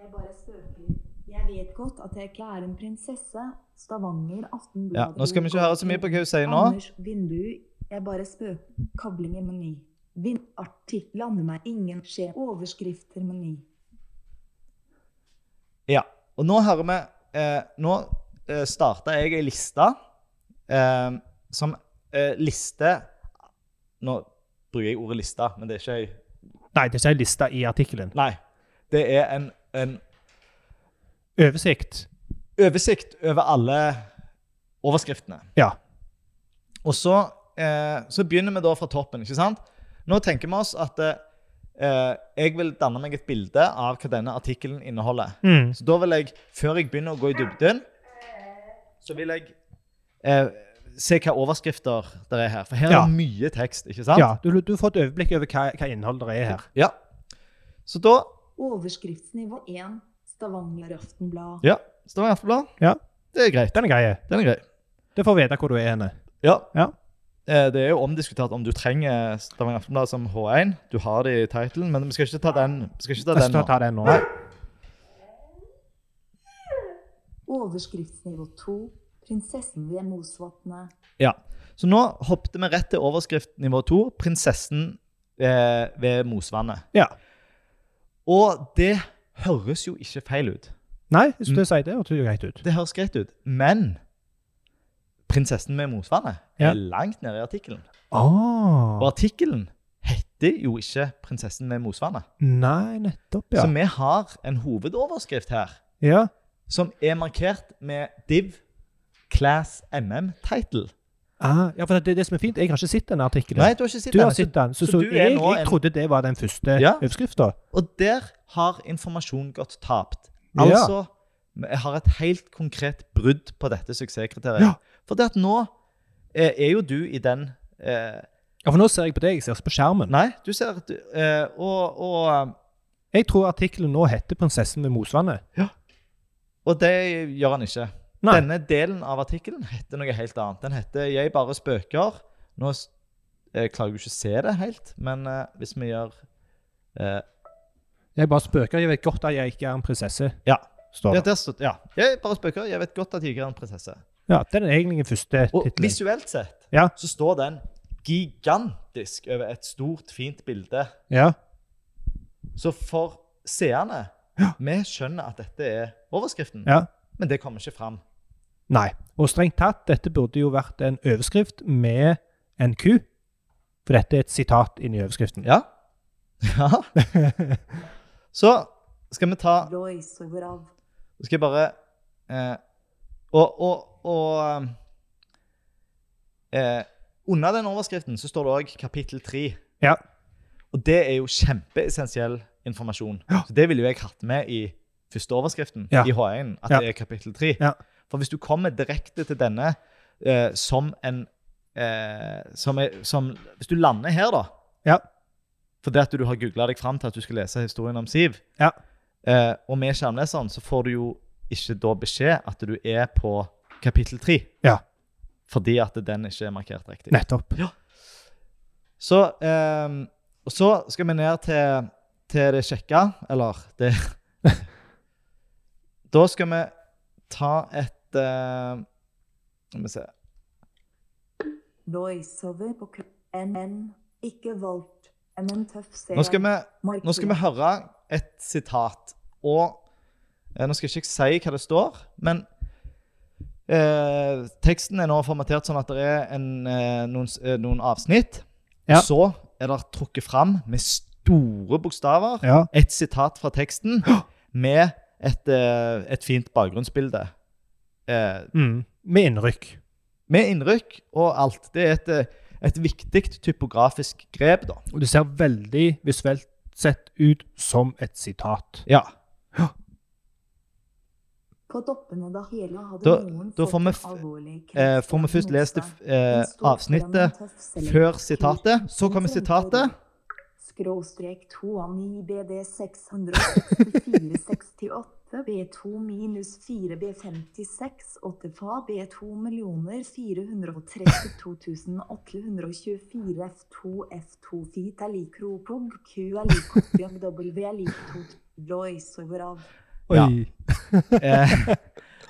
[SPEAKER 3] Jeg bare spøker. Jeg vet godt at jeg ikke er en prinsesse. Stavanger
[SPEAKER 1] Ja,
[SPEAKER 3] Aftenblad
[SPEAKER 1] nå skal vi ikke høre så mye på hva hun sier nå.
[SPEAKER 3] Anders Vindu. Jeg bare spøker. Kabling i meny. Vind artikkel lander meg ingen skje. Overskrifter meny.
[SPEAKER 1] Ja, og nå hører vi eh, Nå eh, starta jeg ei liste eh, som eh, liste Nå bruker jeg ordet liste, men det er ikke ei
[SPEAKER 2] Nei, det er ikke ei liste i artikkelen.
[SPEAKER 1] Nei. Det er en, en
[SPEAKER 2] Oversikt.
[SPEAKER 1] oversikt over alle overskriftene.
[SPEAKER 2] Ja.
[SPEAKER 1] Og så, eh, så begynner vi da fra toppen, ikke sant? Nå tenker vi oss at eh, eh, jeg vil danne meg et bilde av hva denne artikkelen inneholder.
[SPEAKER 2] Mm.
[SPEAKER 1] Så da vil jeg, før jeg begynner å gå i dybden, så vil jeg eh, se hva overskrifter det er her. For her
[SPEAKER 2] Ja.
[SPEAKER 1] er det mye tekst, ikke sant?
[SPEAKER 2] Ja, du, du får et overblikk over hva, hva innholdet det er her.
[SPEAKER 1] Ja. Så da
[SPEAKER 3] Overskriftsnivå 1. Stavanger Aftenblad.
[SPEAKER 1] Ja, Stavanger Aftenblad.
[SPEAKER 2] Ja.
[SPEAKER 1] Det er greit.
[SPEAKER 2] Den er grei.
[SPEAKER 1] Den er grei.
[SPEAKER 2] Du får vite hvor du er henne.
[SPEAKER 1] Ja.
[SPEAKER 2] Ja.
[SPEAKER 1] Eh, Det er jo omdiskutert om du trenger Stavanger Aftenblad som H1. Du har det i titlen, men vi skal ikke ta den, vi skal ikke ta
[SPEAKER 2] Jeg
[SPEAKER 1] den
[SPEAKER 2] skal
[SPEAKER 1] nå.
[SPEAKER 2] ta den nå.
[SPEAKER 1] Nei.
[SPEAKER 3] Overskriftsnivå 2. Prinsessen ved Mosvatnet.
[SPEAKER 1] Ja. Så nå hoppet vi rett til overskrift nivå to, 'Prinsessen eh, ved Mosvannet'.
[SPEAKER 2] Ja.
[SPEAKER 1] Og det høres jo ikke feil ut.
[SPEAKER 2] Nei, jeg skulle si det hørtes jo greit ut.
[SPEAKER 1] Det høres greit ut, men 'Prinsessen ved Mosvannet'
[SPEAKER 2] Ja.
[SPEAKER 1] er langt nede i artikkelen. Og
[SPEAKER 2] Ah.
[SPEAKER 1] artikkelen heter jo ikke 'Prinsessen ved Mosvannet'.
[SPEAKER 2] Nei, nettopp, ja.
[SPEAKER 1] Så vi har en hovedoverskrift her
[SPEAKER 2] Ja,
[SPEAKER 1] som er markert med div class mm title.
[SPEAKER 2] ah, ja for det, det som er fint, jeg har ikke sett denne artikkelen.
[SPEAKER 1] Nei, du har ikke sett
[SPEAKER 2] du har
[SPEAKER 1] den. så-
[SPEAKER 2] sett den, så,
[SPEAKER 1] så
[SPEAKER 2] så,
[SPEAKER 1] du er
[SPEAKER 2] jeg,
[SPEAKER 1] nå
[SPEAKER 2] jeg
[SPEAKER 1] en-
[SPEAKER 2] trodde det var den første
[SPEAKER 1] Ja.
[SPEAKER 2] overskrifta.
[SPEAKER 1] Og der har informasjon gått tapt.
[SPEAKER 2] Ja.
[SPEAKER 1] Altså, jeg har et helt konkret brudd på dette suksesskriteriet.
[SPEAKER 2] Ja.
[SPEAKER 1] For det at nå eh, er jo du i den eh,
[SPEAKER 2] Ja, for nå ser jeg på deg, jeg ser ikke på skjermen.
[SPEAKER 1] Nei, du ser at du eh, og, og,
[SPEAKER 2] Jeg tror artikkelen nå heter 'Prinsessen ved Mosvannet'.
[SPEAKER 1] og det gjør han ikke.
[SPEAKER 2] Nei.
[SPEAKER 1] Denne delen av artikkelen heter noe helt annet. Den heter 'Jeg bare spøker'. Nå s- eh, klarer jeg jo ikke å se det helt, men eh, hvis vi gjør eh,
[SPEAKER 2] Jeg bare spøker. Jeg vet godt at jeg ikke er en prinsesse.
[SPEAKER 1] Ja.
[SPEAKER 2] Står
[SPEAKER 1] Ja,
[SPEAKER 2] det.
[SPEAKER 1] der står ja. 'Jeg bare spøker'. Jeg vet godt at jeg ikke er en prinsesse.
[SPEAKER 2] Ja, det er den egentlige første
[SPEAKER 1] Og
[SPEAKER 2] tittelen.
[SPEAKER 1] visuelt sett
[SPEAKER 2] Ja.
[SPEAKER 1] så står den gigantisk over et stort, fint bilde.
[SPEAKER 2] Ja.
[SPEAKER 1] Så for seerne Vi skjønner at dette er overskriften,
[SPEAKER 2] ja.
[SPEAKER 1] men det kommer ikke fram.
[SPEAKER 2] Nei. Og strengt tatt, dette burde jo vært en overskrift med en ku. For dette er et sitat inni overskriften.
[SPEAKER 1] Ja. (laughs)
[SPEAKER 2] (laughs)
[SPEAKER 1] ja. Så skal vi ta
[SPEAKER 3] Voiceover av
[SPEAKER 1] Nå skal jeg bare eh, Og, og, og eh, Under den overskriften så står det òg kapittel tre.
[SPEAKER 2] Ja.
[SPEAKER 1] Og det er jo kjempeessensiell informasjon. Så Det ville jo jeg hatt med i første overskriften
[SPEAKER 2] Ja.
[SPEAKER 1] i H1, at
[SPEAKER 2] Ja.
[SPEAKER 1] det er kapittel 3.
[SPEAKER 2] Ja.
[SPEAKER 1] For hvis du kommer direkte til denne eh, som en eh, som er, som, Hvis du lander her, da
[SPEAKER 2] Ja.
[SPEAKER 1] Fordi at du har googla deg fram til at du skal lese historien om Siv,
[SPEAKER 2] Ja.
[SPEAKER 1] eh, og med skjermleseren, så får du jo ikke da beskjed at du er på kapittel 3.
[SPEAKER 2] Ja.
[SPEAKER 1] Fordi at den ikke er markert riktig.
[SPEAKER 2] Nettopp.
[SPEAKER 1] Så, ehm, og så skal vi ned til, til det kjekke, eller det Da skal vi ta et eh, Skal vi se
[SPEAKER 3] Voiceover på ku- NN. Ikke valgt. NN tøff seer.
[SPEAKER 1] Nå skal vi,
[SPEAKER 3] Markert.
[SPEAKER 1] nå skal vi høre et sitat. Og eh, nå skal jeg ikke si hva det står, men eh, teksten er nå formatert sånn at det er en, eh, noen, s- eh, noen avsnitt.
[SPEAKER 2] Ja.
[SPEAKER 1] Så er det trukket fram med store bokstaver
[SPEAKER 2] Ja.
[SPEAKER 1] et sitat fra teksten med et, eh, et fint bakgrunnsbilde. Eh,
[SPEAKER 2] Mm. Med innrykk.
[SPEAKER 1] med innrykk og alt. Det er et, eh, et viktig typografisk grep, da.
[SPEAKER 2] Og det ser veldig visuelt sett ut som et sitat.
[SPEAKER 1] Ja.
[SPEAKER 3] På toppen av det hele hadde
[SPEAKER 1] Da-
[SPEAKER 3] noen
[SPEAKER 1] da får vi
[SPEAKER 3] fått
[SPEAKER 1] f-
[SPEAKER 3] en alvorlig
[SPEAKER 1] Eh,
[SPEAKER 3] kreft
[SPEAKER 1] får vi først
[SPEAKER 3] av
[SPEAKER 1] lest det, f-
[SPEAKER 3] motstand.
[SPEAKER 1] eh,
[SPEAKER 3] Den sto foran
[SPEAKER 1] avsnittet
[SPEAKER 3] en tøff selger.
[SPEAKER 1] før sitatet, så kommer (laughs) sitatet.
[SPEAKER 3] Skråstrek 2A9 BD 66468 B2 minus 4 B56 8FA B2 millioner 432 824 F2 F2 Fit er lik Ropog Q er lik Kopium W er lik 2 Royce over av
[SPEAKER 1] Oi. Eh,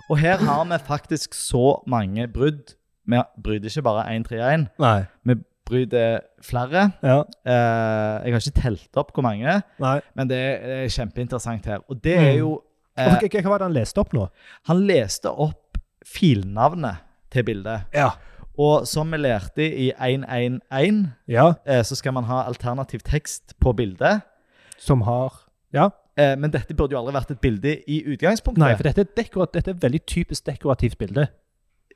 [SPEAKER 1] og her har vi faktisk så mange brudd. Vi bryter ikke bare 131,
[SPEAKER 2] Nei.
[SPEAKER 1] vi bryter flere.
[SPEAKER 2] Ja.
[SPEAKER 1] Eh, jeg har ikke telt opp hvor mange,
[SPEAKER 2] Nei.
[SPEAKER 1] men det er, det er kjempeinteressant her. Og det er jo
[SPEAKER 2] Hva,
[SPEAKER 1] eh,
[SPEAKER 2] hva, hva var det han leste opp nå?
[SPEAKER 1] Han leste opp filnavnet til bildet.
[SPEAKER 2] Ja.
[SPEAKER 1] Og som vi lærte i 111,
[SPEAKER 2] ja.
[SPEAKER 1] eh, så skal man ha alternativ tekst på bildet.
[SPEAKER 2] Som har Ja.
[SPEAKER 1] Eh, men dette burde jo aldri vært et bilde i utgangspunktet.
[SPEAKER 2] Nei, for dette er, dekorat, dette er et veldig typisk dekorativt bilde.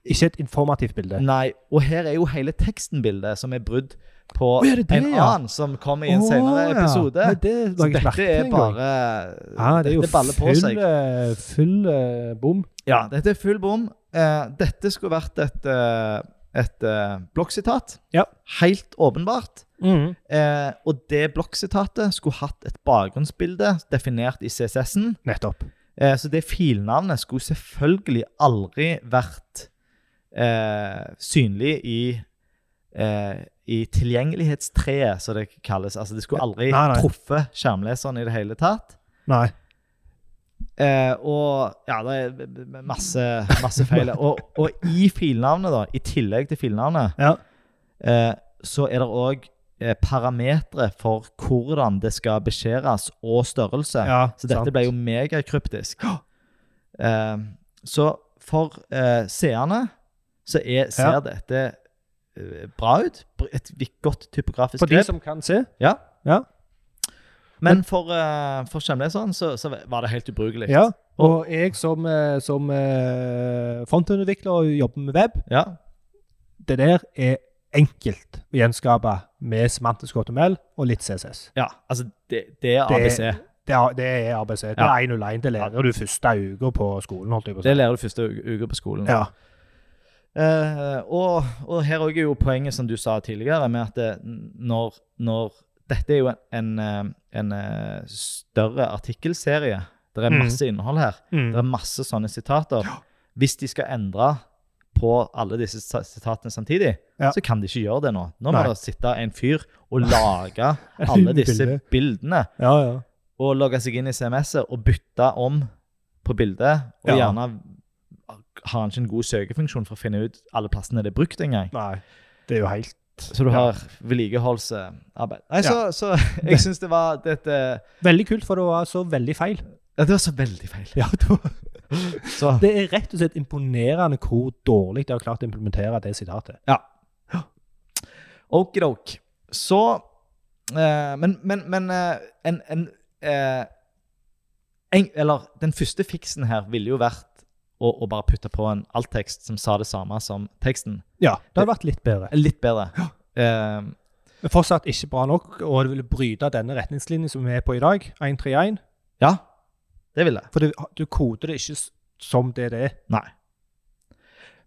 [SPEAKER 2] Ikke et informativt bilde.
[SPEAKER 1] Nei, og her er jo hele tekstenbildet som er brudd på
[SPEAKER 2] Å, er det det,
[SPEAKER 1] en
[SPEAKER 2] ja?
[SPEAKER 1] annen som kommer i en
[SPEAKER 2] Å,
[SPEAKER 1] senere
[SPEAKER 2] ja.
[SPEAKER 1] episode.
[SPEAKER 2] Nei, det la
[SPEAKER 1] Så
[SPEAKER 2] jeg ikke merke
[SPEAKER 1] dette
[SPEAKER 2] til
[SPEAKER 1] er
[SPEAKER 2] engang.
[SPEAKER 1] bare
[SPEAKER 2] Ja, det er jo
[SPEAKER 1] Dette baller på
[SPEAKER 2] full,
[SPEAKER 1] seg.
[SPEAKER 2] eh, full eh, bom.
[SPEAKER 1] Ja, dette er full bom. Eh, dette skulle vært et, eh, et eh, blokksitat.
[SPEAKER 2] Ja.
[SPEAKER 1] Helt åpenbart. Eh, og det blokksitatet skulle hatt et bakgrunnsbilde definert i CSS-en.
[SPEAKER 2] Nettopp.
[SPEAKER 1] Eh, så det filnavnet skulle selvfølgelig aldri vært eh, synlig i, eh, i tilgjengelighetstreet, som det kalles. Altså, det skulle aldri
[SPEAKER 2] Nei, nei.
[SPEAKER 1] truffet skjermleseren i det hele tatt.
[SPEAKER 2] Nei.
[SPEAKER 1] Eh, og ja, det er b- b- masse, masse
[SPEAKER 2] (laughs)
[SPEAKER 1] feil. Og, og i filnavnet, da, i tillegg til filnavnet,
[SPEAKER 2] Ja.
[SPEAKER 1] eh, så er det òg eh, parametere for hvordan det skal beskjæres, og størrelse.
[SPEAKER 2] Ja,
[SPEAKER 1] så dette
[SPEAKER 2] sant.
[SPEAKER 1] ble jo megakryptisk. Eh, så for eh, seerne så er, ser
[SPEAKER 2] Ja.
[SPEAKER 1] dette eh, bra ut. Et vi- godt typografisk
[SPEAKER 2] For de
[SPEAKER 1] grep.
[SPEAKER 2] som kan se.
[SPEAKER 1] ja.
[SPEAKER 2] Ja.
[SPEAKER 1] Men for, eh, for skjermleseren så, så var det helt ubrukelig.
[SPEAKER 2] Ja. Og jeg som, eh, som eh, frontendutvikler og jobber med web,
[SPEAKER 1] Ja.
[SPEAKER 2] det der er enkelt å gjenskape med semantisk HTML og litt CSS.
[SPEAKER 1] Ja, altså det, det er
[SPEAKER 2] Det-
[SPEAKER 1] ABC.
[SPEAKER 2] Det er, det er ABC. Det
[SPEAKER 1] Ja.
[SPEAKER 2] er 101. Det lærer du første uka på skolen. holdt jeg på å si.
[SPEAKER 1] Det lærer du første u- uke på skolen.
[SPEAKER 2] Ja.
[SPEAKER 1] Eh, og, og her òg er jo poenget som du sa tidligere, med at det, n- når, når Dette er jo en, en, eh, en eh, større artikkelserie. Det er
[SPEAKER 2] Mm.
[SPEAKER 1] masse innhold her.
[SPEAKER 2] Mm.
[SPEAKER 1] Det er masse sånne sitater. Hvis de skal endre på alle disse sa- sitatene samtidig,
[SPEAKER 2] Ja.
[SPEAKER 1] så kan de ikke gjøre det nå. Nå må
[SPEAKER 2] Nei.
[SPEAKER 1] det sitte en fyr og lage
[SPEAKER 2] (laughs)
[SPEAKER 1] alle disse
[SPEAKER 2] Bilde.
[SPEAKER 1] bildene.
[SPEAKER 2] ja, ja.
[SPEAKER 1] og logge seg inn i CMS-et og bytte om på bildet. Og
[SPEAKER 2] Ja.
[SPEAKER 1] gjerne har han ikke en god søkefunksjon for å finne ut alle plassene det er brukt engang.
[SPEAKER 2] Nei. Det er jo helt
[SPEAKER 1] Så du har vedlikeholdsarbeid. Nei, så, så (laughs) jeg syns det var dette
[SPEAKER 2] Veldig kult, for det var så veldig feil.
[SPEAKER 1] Ja, det var så veldig feil.
[SPEAKER 2] Ja, det, var,
[SPEAKER 1] (laughs) Så
[SPEAKER 2] det er rett og slett imponerende hvor dårlig de har klart å implementere det sitatet.
[SPEAKER 1] okidok. Så eh, Men, men, men eh, en, en, eh, en Eller den første fiksen her ville jo vært å, å bare putte på en alttekst som sa det samme som teksten.
[SPEAKER 2] Ja, det hadde vært litt bedre.
[SPEAKER 1] Litt bedre. Eh,
[SPEAKER 2] Men fortsatt ikke bra nok, og det ville bryte denne retningslinjen som vi er på i dag, 131.
[SPEAKER 1] Ja, det vil jeg.
[SPEAKER 2] For du, du koder det ikke s- som det det er.
[SPEAKER 1] Nei.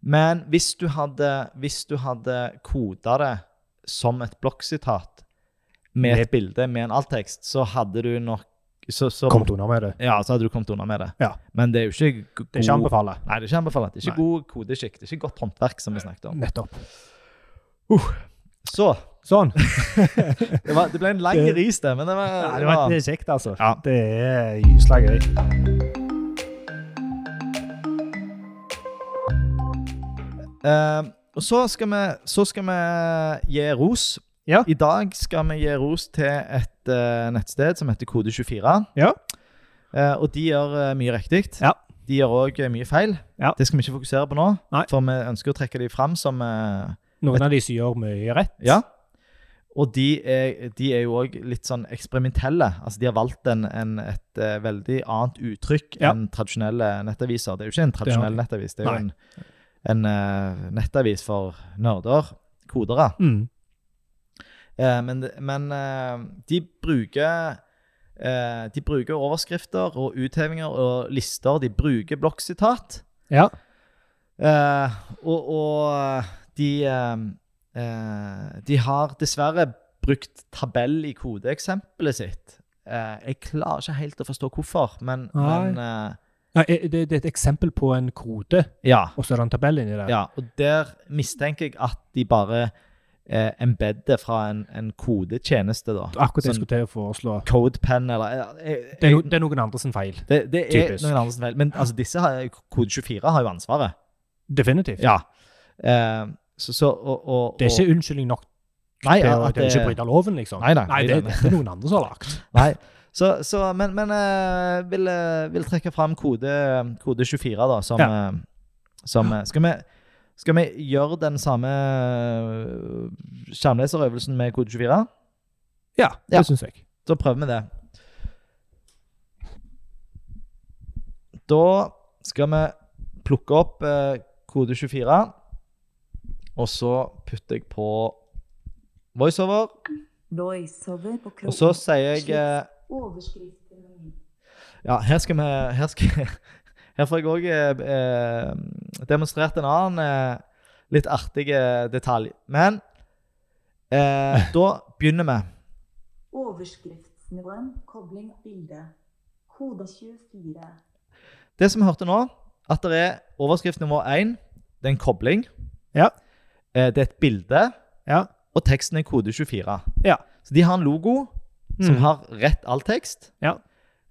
[SPEAKER 1] Men hvis du hadde, hvis du hadde koda det som et blokksitat med et bilde med en alttekst, så hadde du nok så, så,
[SPEAKER 2] Kommet unna med det.
[SPEAKER 1] ja, så hadde du kommet unna med det.
[SPEAKER 2] Ja.
[SPEAKER 1] Men det er jo ikke go-
[SPEAKER 2] Det er ikke å
[SPEAKER 1] god
[SPEAKER 2] anbefale.
[SPEAKER 1] Nei, det er ikke anbefalt. Det er ikke
[SPEAKER 2] Nei.
[SPEAKER 1] god kodeskikk. Det er ikke godt håndverk, som vi snakket om.
[SPEAKER 2] Nettopp.
[SPEAKER 1] Så
[SPEAKER 2] Sånn.
[SPEAKER 1] Det, var, det ble en lang
[SPEAKER 2] Det-
[SPEAKER 1] ris, det. Men det var,
[SPEAKER 2] Ja, det var det er kjekt, altså.
[SPEAKER 1] Ja.
[SPEAKER 2] Det er gysla gøy.
[SPEAKER 1] Eh, og så skal, vi, så skal vi gi ros.
[SPEAKER 2] Ja.
[SPEAKER 1] I dag skal vi gi ros til et eh, nettsted som heter Kode24.
[SPEAKER 2] Ja.
[SPEAKER 1] Eh, og de gjør eh, mye riktig.
[SPEAKER 2] Ja.
[SPEAKER 1] De gjør òg mye feil.
[SPEAKER 2] Ja.
[SPEAKER 1] Det skal vi ikke fokusere på nå,
[SPEAKER 2] Nei.
[SPEAKER 1] for vi ønsker å trekke de fram som eh,
[SPEAKER 2] Noen av de som gjør mye rett.
[SPEAKER 1] Ja. Og de er, de er jo òg litt sånn eksperimentelle. Altså De har valgt en, en, et eh, veldig annet uttrykk
[SPEAKER 2] Ja.
[SPEAKER 1] enn tradisjonelle nettaviser. Det er jo ikke en
[SPEAKER 2] har
[SPEAKER 1] tradisjonell
[SPEAKER 2] de.
[SPEAKER 1] nettavis, det er
[SPEAKER 2] Nei.
[SPEAKER 1] jo en, en eh, nettavis for nerder, kodere.
[SPEAKER 2] Mm.
[SPEAKER 1] Eh, men men eh, de bruker eh, De bruker overskrifter og uthevinger og lister. De bruker blokksitat.
[SPEAKER 2] Ja.
[SPEAKER 1] Eh, og og de, eh, eh, de har dessverre brukt tabell i kodeeksempelet sitt. Eh, jeg klarer ikke helt å forstå hvorfor, men,
[SPEAKER 2] Nei.
[SPEAKER 1] men eh,
[SPEAKER 2] Nei, eh, det, det er et eksempel på en kode,
[SPEAKER 1] ja,
[SPEAKER 2] og så er det en tabell inni der.
[SPEAKER 1] ja. Og der mistenker jeg at de bare eh, embedder fra en, en kodetjeneste, da.
[SPEAKER 2] Akkurat det jeg
[SPEAKER 1] Sånn-
[SPEAKER 2] skulle til å foreslå.
[SPEAKER 1] Codepen eller eh, eh,
[SPEAKER 2] Det er, no, det er noen andre sin feil.
[SPEAKER 1] Det, det er
[SPEAKER 2] Typisk.
[SPEAKER 1] noen andre som feil. Men altså, disse har, kode 24 har jo ansvaret.
[SPEAKER 2] Definitivt.
[SPEAKER 1] Ja. Eh, så, så, og, og,
[SPEAKER 2] Det er ikke unnskyldning nok
[SPEAKER 1] Nei,
[SPEAKER 2] til
[SPEAKER 1] at
[SPEAKER 2] å det...
[SPEAKER 1] det-
[SPEAKER 2] ikke bryte loven, liksom.
[SPEAKER 1] Nei, nei,
[SPEAKER 2] det,
[SPEAKER 1] nei, nei.
[SPEAKER 2] det er noen andre som har lagd.
[SPEAKER 1] Nei. Så, så, men men eh, vil, eh, vil trekke fram kode, kode 24, da, som,
[SPEAKER 2] Ja.
[SPEAKER 1] eh, som eh, skal, vi, skal vi gjøre den samme eh, skjermleserøvelsen med kode 24?
[SPEAKER 2] Ja, det
[SPEAKER 1] Ja.
[SPEAKER 2] syns jeg.
[SPEAKER 1] Da prøver vi det. Da skal vi plukke opp eh, kode 24, og så putter jeg på voiceover,
[SPEAKER 3] Voiceover på kropp.
[SPEAKER 1] og så sier jeg eh,
[SPEAKER 3] Overskrifter meny.
[SPEAKER 1] Ja, her skal vi Her, skal, (laughs) her får jeg òg eh, demonstrert en annen eh, litt artig eh, detalj. Men eh,
[SPEAKER 2] (laughs)
[SPEAKER 1] da begynner vi.
[SPEAKER 3] Overskriftsnivåen, kobling bilde. Kode 24.
[SPEAKER 1] Det som vi hørte nå, at det er overskrift nummer én, det er en kobling.
[SPEAKER 2] Ja.
[SPEAKER 1] Eh, Det er et bilde,
[SPEAKER 2] Ja.
[SPEAKER 1] og teksten er kode 24.
[SPEAKER 2] Ja.
[SPEAKER 1] Så de har en logo som
[SPEAKER 2] Mm.
[SPEAKER 1] har rett all tekst.
[SPEAKER 2] Ja.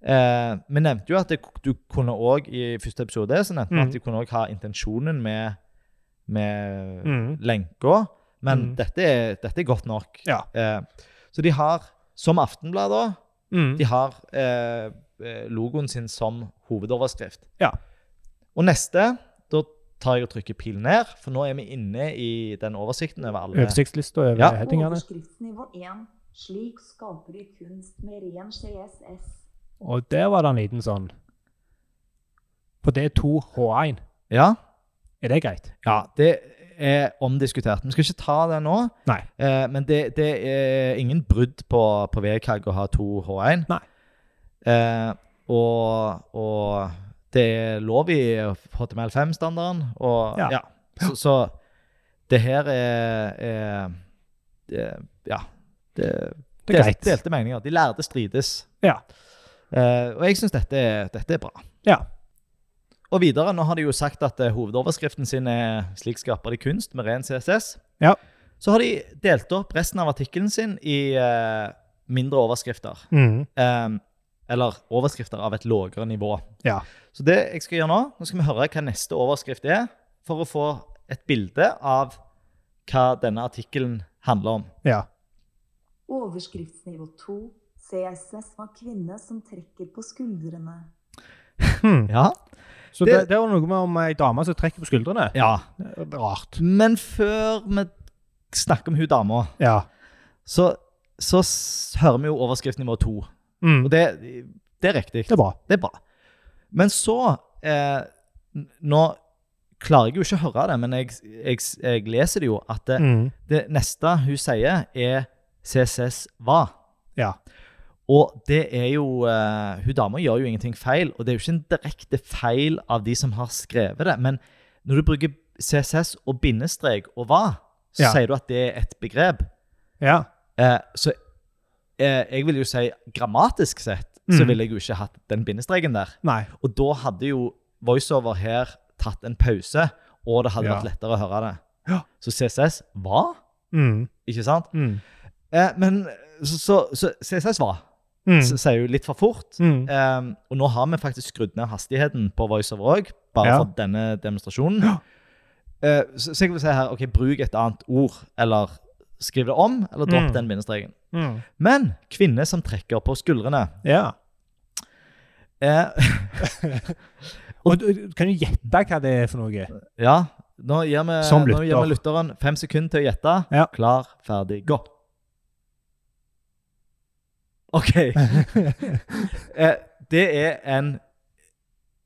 [SPEAKER 1] Eh, vi nevnte jo at det, du kunne òg i første episode så nevnte vi
[SPEAKER 2] Mm.
[SPEAKER 1] at du kunne også ha intensjonen med, med
[SPEAKER 2] Mm.
[SPEAKER 1] lenka, men
[SPEAKER 2] Mm.
[SPEAKER 1] dette, er, dette er godt nok.
[SPEAKER 2] Ja.
[SPEAKER 1] Eh, så de har, som Aftenbladet, da,
[SPEAKER 2] Mm.
[SPEAKER 1] de har eh, eh, logoen sin som hovedoverskrift.
[SPEAKER 2] Ja.
[SPEAKER 1] Og neste, da tar jeg og trykker pil ned, for nå er vi inne i den oversikten over alle.
[SPEAKER 2] Oversiktslista over
[SPEAKER 1] Ja.
[SPEAKER 2] headingene.
[SPEAKER 3] Overskriftsnivå 1. Slik skaper du kunst med ren CSS.
[SPEAKER 2] Og der var det en liten sånn På D2H1.
[SPEAKER 1] Ja,
[SPEAKER 2] Er det greit?
[SPEAKER 1] ja, det er omdiskutert. Vi skal ikke ta det nå,
[SPEAKER 2] Nei.
[SPEAKER 1] eh, men det, det er ingen brudd på, på VKG å ha to H1.
[SPEAKER 2] Nei.
[SPEAKER 1] Eh, og, og det er lov i HTML5-standarden, og
[SPEAKER 2] Ja.
[SPEAKER 1] ja. Så, så det her er, er det, Ja. Det,
[SPEAKER 2] Det er
[SPEAKER 1] Delte,
[SPEAKER 2] greit.
[SPEAKER 1] delte meninger. De lærde strides.
[SPEAKER 2] Ja.
[SPEAKER 1] Eh, og jeg syns dette, er- dette er bra.
[SPEAKER 2] Ja.
[SPEAKER 1] Og videre, nå har de jo sagt at eh, hovedoverskriften sin er 'Slik skaper de kunst' med ren CSS.
[SPEAKER 2] Ja.
[SPEAKER 1] Så har de delt opp resten av artikkelen sin i eh, mindre overskrifter.
[SPEAKER 2] Mm.
[SPEAKER 1] Eh, eller overskrifter av et lavere nivå.
[SPEAKER 2] Ja.
[SPEAKER 1] Så det jeg skal gjøre nå, nå skal vi høre hva neste overskrift er, for å få et bilde av hva denne artikkelen handler om.
[SPEAKER 2] ja.
[SPEAKER 3] Overskriftsnivå 2. CSS var kvinne som trekker på skuldrene.
[SPEAKER 2] Hmm.
[SPEAKER 1] Ja,
[SPEAKER 2] Så det,
[SPEAKER 1] Det-
[SPEAKER 2] det, var noe med om ei dame som trekker på skuldrene.
[SPEAKER 1] ja.
[SPEAKER 2] Rart.
[SPEAKER 1] Men før vi snakker om hun dama,
[SPEAKER 2] Ja.
[SPEAKER 1] så, så s- hører vi jo overskrift nivå to.
[SPEAKER 2] Mm.
[SPEAKER 1] Og det, det er riktig.
[SPEAKER 2] Det er bra.
[SPEAKER 1] Det er bra. Men så eh, n- Nå klarer jeg jo ikke å høre det, men jeg, jeg, jeg leser det jo at det,
[SPEAKER 2] Mm.
[SPEAKER 1] det neste hun sier, er CSS hva.
[SPEAKER 2] Ja.
[SPEAKER 1] Og det er jo eh, Hun dama gjør jo ingenting feil, og det er jo ikke en direkte feil av de som har skrevet det. Men når du bruker CSS og bindestrek og hva, så
[SPEAKER 2] Ja.
[SPEAKER 1] sier du at det er et begrep.
[SPEAKER 2] Ja.
[SPEAKER 1] Eh, så eh, jeg vil jo si grammatisk sett så
[SPEAKER 2] Mm.
[SPEAKER 1] ville jeg jo ikke hatt den bindestreken der.
[SPEAKER 2] Nei.
[SPEAKER 1] Og da hadde jo voiceover her tatt en pause, og det hadde
[SPEAKER 2] Ja.
[SPEAKER 1] vært lettere å høre det.
[SPEAKER 2] Ja.
[SPEAKER 1] Så CSS var,
[SPEAKER 2] Mm.
[SPEAKER 1] ikke sant?
[SPEAKER 2] Mm.
[SPEAKER 1] Eh, men så, så, så CSS var,
[SPEAKER 2] Mm.
[SPEAKER 1] s- sier jo litt for fort.
[SPEAKER 2] Mm.
[SPEAKER 1] Eh, og nå har vi faktisk skrudd ned hastigheten på voiceover òg, bare
[SPEAKER 2] Ja.
[SPEAKER 1] for denne demonstrasjonen.
[SPEAKER 2] Ja.
[SPEAKER 1] Eh, så, så jeg vil si her, ok, bruk et annet ord, eller skriv det om, eller dropp
[SPEAKER 2] Mm.
[SPEAKER 1] den bindestreken.
[SPEAKER 2] Mm.
[SPEAKER 1] Men kvinner som trekker på skuldrene
[SPEAKER 2] Ja.
[SPEAKER 1] eh,
[SPEAKER 2] Og du- kan du gjette hva det er for noe?
[SPEAKER 1] (laughs) Ja, nå gir vi,
[SPEAKER 2] Som
[SPEAKER 1] nå gir vi
[SPEAKER 2] lytter.
[SPEAKER 1] lytteren fem sekunder til å gjette.
[SPEAKER 2] Ja.
[SPEAKER 1] Klar, ferdig, gå.
[SPEAKER 2] (laughs)
[SPEAKER 1] OK. eh, det er en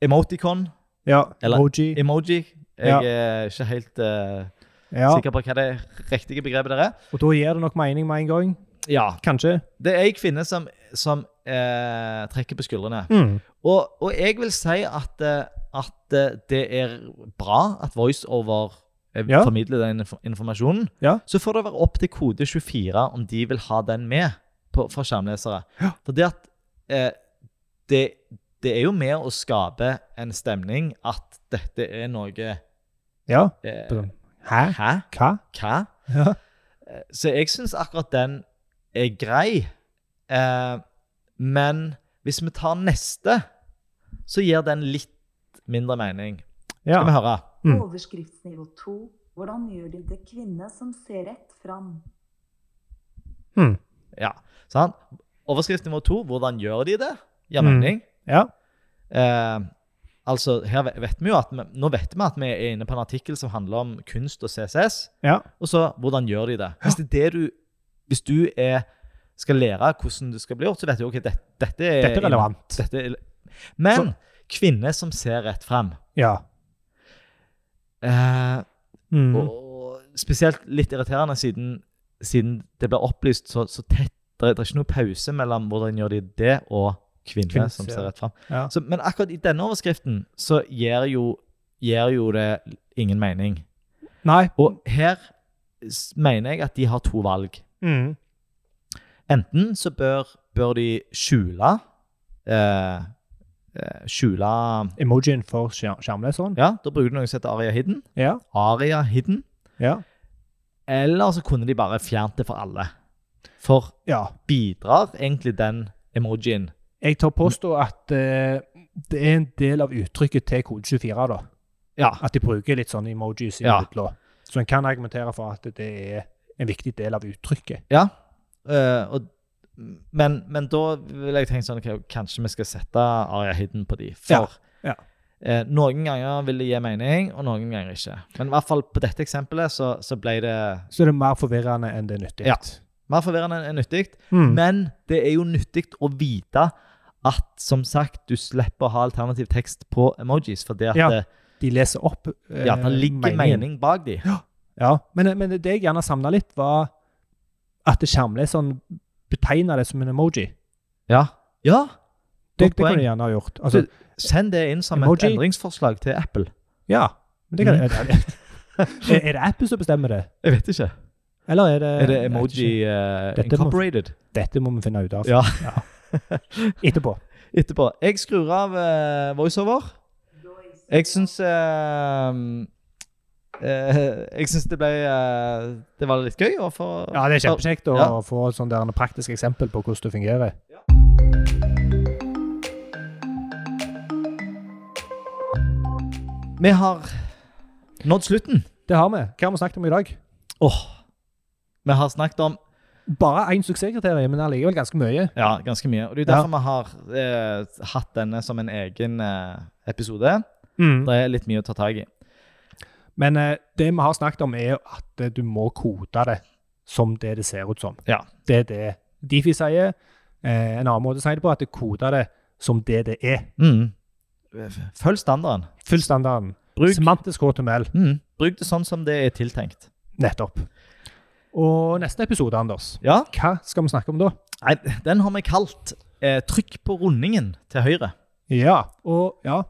[SPEAKER 1] emoticon,
[SPEAKER 2] Ja.
[SPEAKER 1] Eller-
[SPEAKER 2] Emoji.
[SPEAKER 1] emoji. Jeg
[SPEAKER 2] Ja.
[SPEAKER 1] er ikke helt eh,
[SPEAKER 2] Ja.
[SPEAKER 1] sikker på hva det riktige begrepet der er.
[SPEAKER 2] Og da gir det nok mening med en gang.
[SPEAKER 1] Ja,
[SPEAKER 2] Kanskje.
[SPEAKER 1] Det er ei kvinne som, som eh, trekker på skuldrene.
[SPEAKER 2] Mm.
[SPEAKER 1] Og, og jeg vil si at, eh, at eh, det er bra at voiceover eh,
[SPEAKER 2] Ja.
[SPEAKER 1] formidler den inf- informasjonen.
[SPEAKER 2] Ja.
[SPEAKER 1] Så får det være opp til kode 24 om de vil ha den med på, for skjermlesere.
[SPEAKER 2] Ja.
[SPEAKER 1] For det at eh, det, det er jo med å skape en stemning at dette er noe
[SPEAKER 2] Ja.
[SPEAKER 1] eh,
[SPEAKER 2] Hæ?
[SPEAKER 1] Hæ?
[SPEAKER 2] Hva?
[SPEAKER 1] Hva?
[SPEAKER 2] Ja.
[SPEAKER 1] Eh, Så jeg syns akkurat den er grei. Eh, men hvis vi tar neste, så gir den litt mindre mening.
[SPEAKER 2] ja.
[SPEAKER 1] Skal vi høre?
[SPEAKER 2] Mm.
[SPEAKER 3] Overskriftsnivå 2. Hvordan gjør de det kvinne som ser rett fram?
[SPEAKER 2] Mm.
[SPEAKER 1] Ja. Sant? Overskrift nummer to, hvordan gjør de det? Gir
[SPEAKER 2] Mm.
[SPEAKER 1] mening.
[SPEAKER 2] ja.
[SPEAKER 1] Eh, altså, her ve- vet vi jo at vi, Nå vet vi at vi er inne på en artikkel som handler om kunst og CCS.
[SPEAKER 2] Ja.
[SPEAKER 1] Og så hvordan gjør de det? Hvis det er det du, hvis du er, skal lære hvordan det skal bli gjort, så vet du ok, det, dette er
[SPEAKER 2] Dette er relevant.
[SPEAKER 1] Dette er, men kvinner som ser rett frem,
[SPEAKER 2] Ja.
[SPEAKER 1] eh,
[SPEAKER 2] Mm.
[SPEAKER 1] og, og spesielt litt irriterende siden, siden det blir opplyst så, så tett, det er det er ikke noe pause mellom hvordan gjør de det og kvinner
[SPEAKER 2] Kvinner
[SPEAKER 1] som
[SPEAKER 2] ser-
[SPEAKER 1] ser rett frem.
[SPEAKER 2] Ja.
[SPEAKER 1] Så, men akkurat i denne overskriften så gir jo, gir jo det ingen mening.
[SPEAKER 2] Nei.
[SPEAKER 1] Og her s- mener jeg at de har to valg.
[SPEAKER 2] Mm.
[SPEAKER 1] Enten så bør, bør de skjule eh, eh, Skjule
[SPEAKER 2] Emojien for skjer- skjermleseren.
[SPEAKER 1] Ja, da bruker du noe som heter Aria Hidden.
[SPEAKER 2] Ja.
[SPEAKER 1] Aria Hidden.
[SPEAKER 2] Ja.
[SPEAKER 1] Eller så kunne de bare fjernt det for alle. For
[SPEAKER 2] ja.
[SPEAKER 1] bidrar egentlig den emojien?
[SPEAKER 2] Jeg tør påstå at eh, det er en del av uttrykket til kode 24, da.
[SPEAKER 1] Ja.
[SPEAKER 2] At de bruker litt sånne emojis i
[SPEAKER 1] Ja.
[SPEAKER 2] midler. Så en kan argumentere for at det er en viktig del av uttrykket.
[SPEAKER 1] Ja. Eh, og, men, men da vil jeg tenke sånn ok, Kanskje vi skal sette Aria Hidden på de. For
[SPEAKER 2] Ja, ja.
[SPEAKER 1] Eh, noen ganger vil det gi mening, og noen ganger ikke. Men i hvert fall på dette eksempelet så, så ble det
[SPEAKER 2] Så det er mer forvirrende enn det er nyttig.
[SPEAKER 1] Ja. mer forvirrende enn nyttig.
[SPEAKER 2] Mm.
[SPEAKER 1] Men det er jo nyttig å vite at som sagt, du slipper å ha alternativ tekst på emojis, fordi at
[SPEAKER 2] Ja.
[SPEAKER 1] det,
[SPEAKER 2] de leser opp eh,
[SPEAKER 1] ja, det ligger
[SPEAKER 2] meningen.
[SPEAKER 1] mening bak de.
[SPEAKER 2] Ja, men, eh, men det jeg gjerne savna litt, var at skjermleseren betegna det som en emoji.
[SPEAKER 1] Ja. ja. Godt
[SPEAKER 2] Det, det kunne
[SPEAKER 1] poeng.
[SPEAKER 2] de gjerne ha gjort. Altså,
[SPEAKER 1] Du- Send det inn som
[SPEAKER 2] Emoji.
[SPEAKER 1] et endringsforslag til Apple.
[SPEAKER 2] ja, men det kan,
[SPEAKER 1] Mm.
[SPEAKER 2] er, (laughs) det- er, er det Apple som bestemmer det?
[SPEAKER 1] Jeg vet ikke.
[SPEAKER 2] Eller er det
[SPEAKER 1] Er det
[SPEAKER 2] jeg vet
[SPEAKER 1] emoji
[SPEAKER 2] ikke.
[SPEAKER 1] eh,
[SPEAKER 2] Dette må-
[SPEAKER 1] incorporated?
[SPEAKER 2] Dette må vi finne ut av
[SPEAKER 1] Ja.
[SPEAKER 2] etterpå.
[SPEAKER 1] Etterpå. Jeg skrur av eh, voiceover. Jeg syns eh, eh, Jeg syns det ble eh, Det var litt gøy å få
[SPEAKER 2] (laughs) Ja, Det er kjempekjekt å
[SPEAKER 1] Ja.
[SPEAKER 2] få et sånt der en praktisk eksempel på hvordan det fungerer.
[SPEAKER 1] Vi har nådd slutten.
[SPEAKER 2] Det har vi. Hva har vi snakket om i dag?
[SPEAKER 1] Åh. Vi har snakket om
[SPEAKER 2] Bare én suksesskriterium, men allikevel ganske mye.
[SPEAKER 1] ja, ganske mye. Og det er jo
[SPEAKER 2] Ja.
[SPEAKER 1] derfor vi har eh, hatt denne som en egen eh, episode.
[SPEAKER 2] Mm.
[SPEAKER 1] Det er litt mye å ta tak i.
[SPEAKER 2] Men eh, det vi har snakket om, er jo at eh, du må kode det som det det ser ut som.
[SPEAKER 1] Ja.
[SPEAKER 2] Det er det Difi sier. Eh, en annen måte å si det på er at du koder det som det det er.
[SPEAKER 1] Mm. Følg standarden.
[SPEAKER 2] Full standarden.
[SPEAKER 1] Bruk,
[SPEAKER 2] Semantisk HTML.
[SPEAKER 1] mm, bruk det sånn som det er tiltenkt.
[SPEAKER 2] Nettopp. Og neste episode, Anders,
[SPEAKER 1] Ja,
[SPEAKER 2] hva skal vi snakke om da?
[SPEAKER 1] nei, den har vi kalt eh, 'Trykk på rundingen til høyre'.
[SPEAKER 2] Ja, og ja.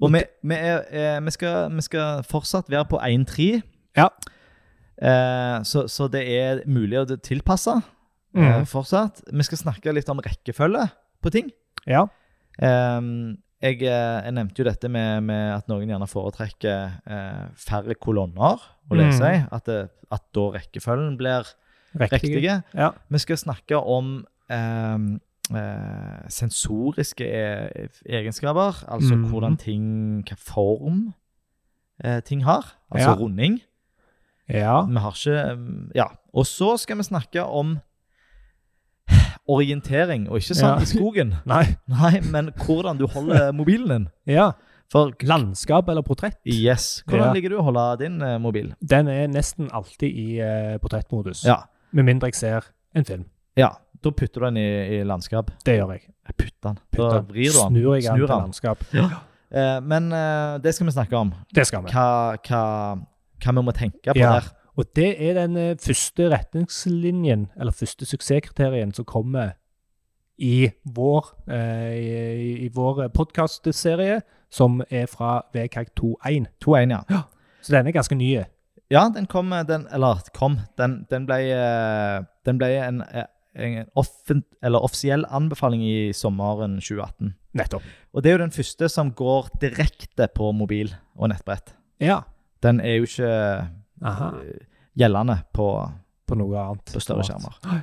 [SPEAKER 1] Og vi, vi, er, eh, vi, skal, vi skal fortsatt være på 1-3,
[SPEAKER 2] Ja.
[SPEAKER 1] eh, så, så det er mulig å tilpasse eh,
[SPEAKER 2] Mm.
[SPEAKER 1] fortsatt. Vi skal snakke litt om rekkefølge på ting.
[SPEAKER 2] Ja.
[SPEAKER 1] Ehm, jeg, eh, jeg nevnte jo dette med, med at noen gjerne foretrekker eh, færre kolonner å lese i. At, det, at da rekkefølgen blir
[SPEAKER 2] Riktig.
[SPEAKER 1] riktige.
[SPEAKER 2] Ja.
[SPEAKER 1] Vi skal snakke om ehm, eh, sensoriske e egenskaper, altså
[SPEAKER 2] Mhm.
[SPEAKER 1] hvordan ting, hva form eh, ting har, altså
[SPEAKER 2] Ja.
[SPEAKER 1] runding.
[SPEAKER 2] Ja.
[SPEAKER 1] Vi har ikke um, Ja. Og så skal vi snakke om orientering, og ikke sånn
[SPEAKER 2] Ja.
[SPEAKER 1] i skogen. (laughs)
[SPEAKER 2] Nei.
[SPEAKER 1] Nei, men hvordan du holder mobilen din.
[SPEAKER 2] Ja.
[SPEAKER 1] For
[SPEAKER 2] Landskap eller portrett?
[SPEAKER 1] yes, hvordan
[SPEAKER 2] Ja.
[SPEAKER 1] ligger du å holde din eh, mobil?
[SPEAKER 2] Den er nesten alltid i eh, portrettmodus.
[SPEAKER 1] Ja.
[SPEAKER 2] Med mindre jeg ser en film.
[SPEAKER 1] ja. Da putter du den i, i landskap.
[SPEAKER 2] Det gjør jeg.
[SPEAKER 1] Jeg putter den.
[SPEAKER 2] Putter
[SPEAKER 1] Da
[SPEAKER 2] den.
[SPEAKER 1] vrir du den.
[SPEAKER 2] Snur jeg den
[SPEAKER 1] Snur
[SPEAKER 2] til
[SPEAKER 1] den.
[SPEAKER 2] landskap.
[SPEAKER 1] Eh, men eh, det skal vi snakke om.
[SPEAKER 2] Det skal vi.
[SPEAKER 1] Hva, hva, hva vi må tenke på
[SPEAKER 2] Ja.
[SPEAKER 1] der.
[SPEAKER 2] Og det er den eh, første retningslinjen, eller første suksesskriterien, som kommer i vår, eh, i, i vår podkastserie, som er fra VKG21.
[SPEAKER 1] 2-1, ja.
[SPEAKER 2] Så den er ganske ny. eh,
[SPEAKER 1] Ja, den kom, eh, den, eller kom, den, den ble, eh, den ble en, eh, en offent, eller offisiell anbefaling i sommeren 2018.
[SPEAKER 2] Nettopp.
[SPEAKER 1] Og det er jo den første som går direkte på mobil og nettbrett.
[SPEAKER 2] Ja.
[SPEAKER 1] Den er jo ikke
[SPEAKER 2] Aha.
[SPEAKER 1] eh, gjeldende på,
[SPEAKER 2] På noe annet.
[SPEAKER 1] på større skjermer.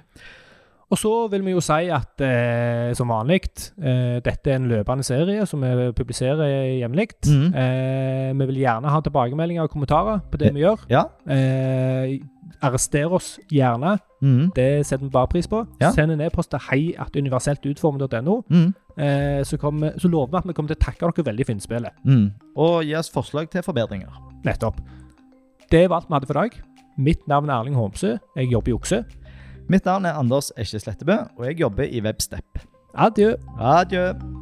[SPEAKER 2] Og så vil vi jo si at eh, som vanlig, eh, dette er en løpende serie som vi publiserer jevnlig.
[SPEAKER 1] Mhm.
[SPEAKER 2] Eh, vi vil gjerne ha tilbakemeldinger og kommentarer på det vi gjør.
[SPEAKER 1] Ja.
[SPEAKER 2] Eh, arrester oss gjerne.
[SPEAKER 1] Mhm.
[SPEAKER 2] Det setter vi bare pris på.
[SPEAKER 1] Ja.
[SPEAKER 2] Send en e-post til heiatuniverseltutformet.no.
[SPEAKER 1] Mhm.
[SPEAKER 2] Eh, så, kommer- så lover vi at vi kommer til å takke dere veldig for innspillet.
[SPEAKER 1] Mhm. Og gi oss forslag til forbedringer.
[SPEAKER 2] Nettopp. Det var alt vi hadde for i dag. Mitt navn er Erling Homsø. Jeg jobber i Okse.
[SPEAKER 1] Mitt navn er Anders Esje Slettebø, og jeg jobber i Webstep.
[SPEAKER 2] Adjø.
[SPEAKER 1] Adjø.